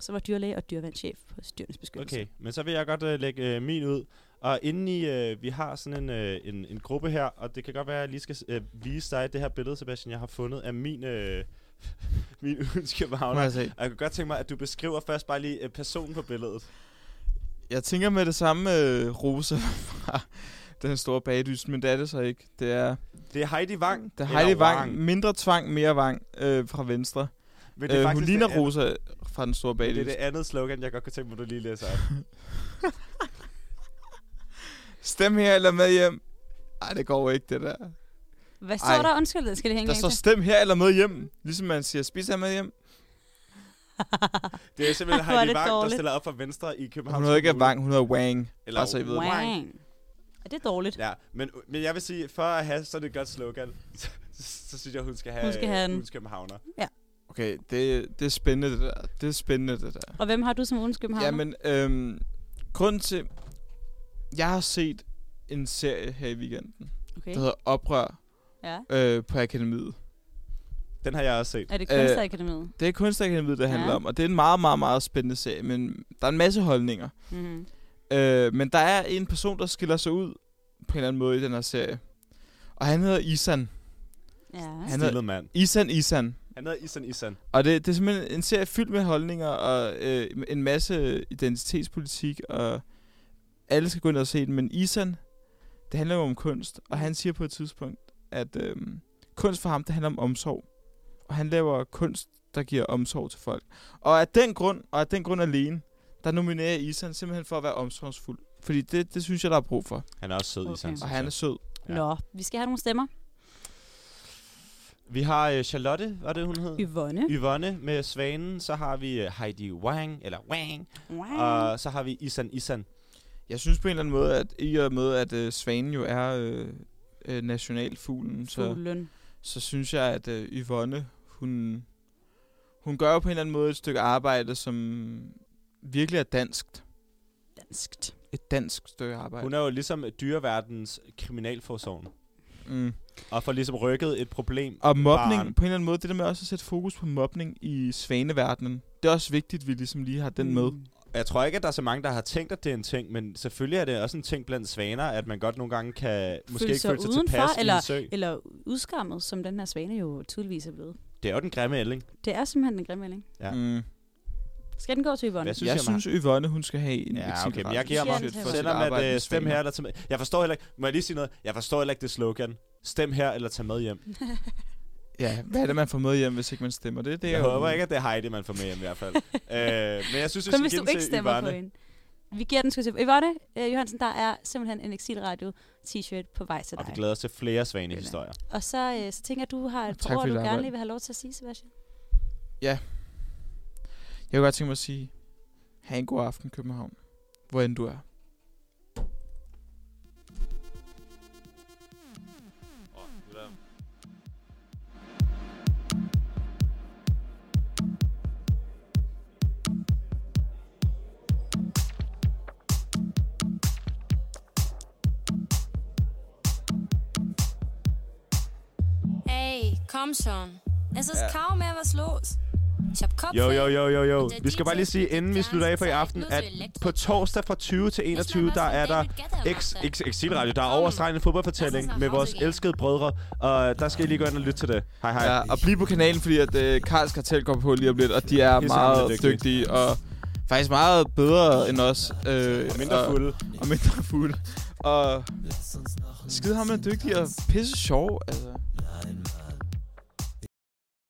E: som var dyrlæge og dyrevandschef på Dyrenes Beskyttelse.
A: Okay, men så vil jeg godt øh, lægge øh, min ud. Og inden i, øh, vi har sådan en, øh, en, en gruppe her, og det kan godt være, at jeg lige skal øh, vise dig det her billede, Sebastian, jeg har fundet af min, øh, min
B: Må
A: ønskebavne.
B: jeg se.
A: Og jeg kunne godt tænke mig, at du beskriver først bare lige øh, personen på billedet.
B: Jeg tænker med det samme øh, Rosa fra den store bagdyst, men det er det så ikke. Det er,
A: Det er Heidi Wang.
B: det er
A: eller
B: Heidi Vang, mindre tvang, mere vang øh, fra venstre.
A: Men det er
B: Øh, hun
A: faktisk
B: ligner
A: det andet-
B: Rosa fra den store
A: Det er
B: bagdyst.
A: det andet slogan, jeg godt kunne tænke mig, at du lige læser op.
B: Stem her eller med hjem. Nej, det går ikke, det der.
E: Hvad står
B: Ej.
E: der? Undskyld, det skal det hænge
B: Der
E: en
B: står
E: gang til.
B: stem her eller med hjem. Ligesom man siger, spis her med hjem.
A: Det er simpelthen
E: Hvor er
A: Heidi
E: det
A: Wang, der
E: dårligt.
A: stiller op for venstre i København.
B: Hun hedder ikke Vang, hun hedder Wang.
A: Eller
B: bare så I ved det.
E: Wang. Er det dårligt?
A: Ja, men, men jeg vil sige, for at have sådan et godt slogan, så, så synes jeg, hun skal have,
E: Hun skal have den.
A: hun skal havner.
B: Okay, det, det er spændende det der. Det er spændende det der.
E: Og hvem har du som ugens københavner?
B: Jamen, øhm, grund til... Jeg har set en serie her i weekenden,
E: okay.
B: der hedder Oprør
E: Ja.
B: øh, på Akademiet.
A: Den har jeg også set.
E: Er det
B: Øh,
E: kunstakademiet?
B: Det er Kunstakademiet, det handler
E: Ja.
B: om, og det er en meget, meget, meget spændende serie, men der er en masse holdninger.
E: Mm-hmm.
B: Øh, men der er en person, der skiller sig ud på en eller anden måde i den her serie. Og han hedder Isan.
E: Ja.
B: Han
A: Stillet mand.
B: Isan Isan.
A: Han hedder Isan Isan.
B: Og det, det er simpelthen en serie fyldt med holdninger og øh, en masse identitetspolitik, og alle skal gå ind og se den. Men Isan, det handler jo om kunst, og han siger på et tidspunkt, at øh, kunst for ham, det handler om omsorg. Og han laver kunst, der giver omsorg til folk. Og af den grund, og af den grund alene, der nominerer jeg Isan simpelthen for at være omsorgsfuld. Fordi det, det synes jeg, der er brug for.
A: Han er også sød,
E: Okay.
A: okay. Isan.
B: Og han er sød.
A: Ja.
E: Ja. Nå, vi skal have nogle stemmer.
A: Vi har øh, Charlotte, var det hun hed?
E: Yvonne.
A: Yvonne med Svanen. Så har vi øh, Heidi Wang, eller Wang.
E: Wow.
A: Og så har vi Isan Isan.
B: Jeg synes på en eller anden måde, at i og med, at øh, svanen jo er øh, øh, nationalfuglen, så...
E: Fuglen.
B: så synes jeg, at øh, Yvonne, hun, hun gør jo på en eller anden måde et stykke arbejde, som virkelig er danskt.
E: Danskt.
B: Et dansk stykke arbejde.
A: Hun er jo ligesom dyreverdens kriminalforsorgen.
B: mm.
A: Og får ligesom rykket et problem.
B: Og mobning,
A: Barn.
B: på en eller anden måde, det der med også at sætte fokus på mobning i svaneverdenen, det er også vigtigt, at vi ligesom lige har den
E: Mm.
B: med.
A: Jeg tror ikke, at der er så mange, der har tænkt, at det er en ting, men selvfølgelig er det også en ting blandt svaner, at man godt nogle gange kan måske
E: Føle
A: ikke
E: sig
A: føle sig
E: udenfor,
A: tilpas i
E: eller-
A: en sø.
E: Eller udskammet, som den her svane jo tydeligvis er blevet.
A: Det er jo den grimme ælling.
E: Det er simpelthen en grim melding.
A: Ja.
B: Mm.
E: Skal den gå til Yvonne?
A: Hvad synes
B: Jeg
A: jeg, man-
B: synes, Yvonne, hun skal have en
A: Ja,
B: eksilret.
A: okay, men jeg
E: giver mig-
B: For sit
A: Selvom at
B: arbejde med
A: øh, stem
B: svaner.
A: her eller tag med. Jeg forstår heller ikke, må jeg lige sige noget? Jeg forstår heller ikke det slogan. Stem her eller tag med hjem.
B: Ja, hvad er det, man får med hjem, hvis ikke man stemmer det? det er
A: Jeg
B: jo-
A: håber ikke, at det er Heidi, man får med hjem i hvert fald. øh, men jeg synes, vi
E: Kun
A: skal
E: hvis
A: give
E: du
A: den
E: ikke
A: til
E: stemmer på
A: Yvonne.
E: hende. Vi giver den sgu til Yvonne øh, Johansen. Der er simpelthen en Exilradio t-shirt på vej til
A: Og vi
E: dig.
A: glæder os til flere svanehistorier.
E: Og så, øh, så tænker jeg, at du har et
B: Tak
E: par ord,
B: for
E: du
B: dit
E: gerne
B: arbejde.
E: lige vil have lov til at sige, Sebastian.
B: Jeg kunne godt tænke mig at sige, have en god aften, København. Hvor end du er.
J: Ey, komm schon. Es ist kaum mehr was los. Ich hab Kopf.
A: Jo, jo, jo, jo, jo. Vi skal bare lige sige, inden vi slutter af for i aften, at på torsdag fra 20 til 21, der er der X, X, Exilradio, der er overstregende fodboldfortælling med vores elskede brødre. Og der skal I lige gå ind og lytte til det. Hej, hej.
B: Ja, og bliv på kanalen, fordi at øh, Karls Kartel går på lige om lidt, og de er
A: Pissehamrende
B: meget
A: dygtige.
B: dygtige. dygtige og faktisk meget bedre end os. Øh,
A: Og mindre fulde.
B: Og mindre fulde. Og skide ham er dygtig og pisse sjov, altså.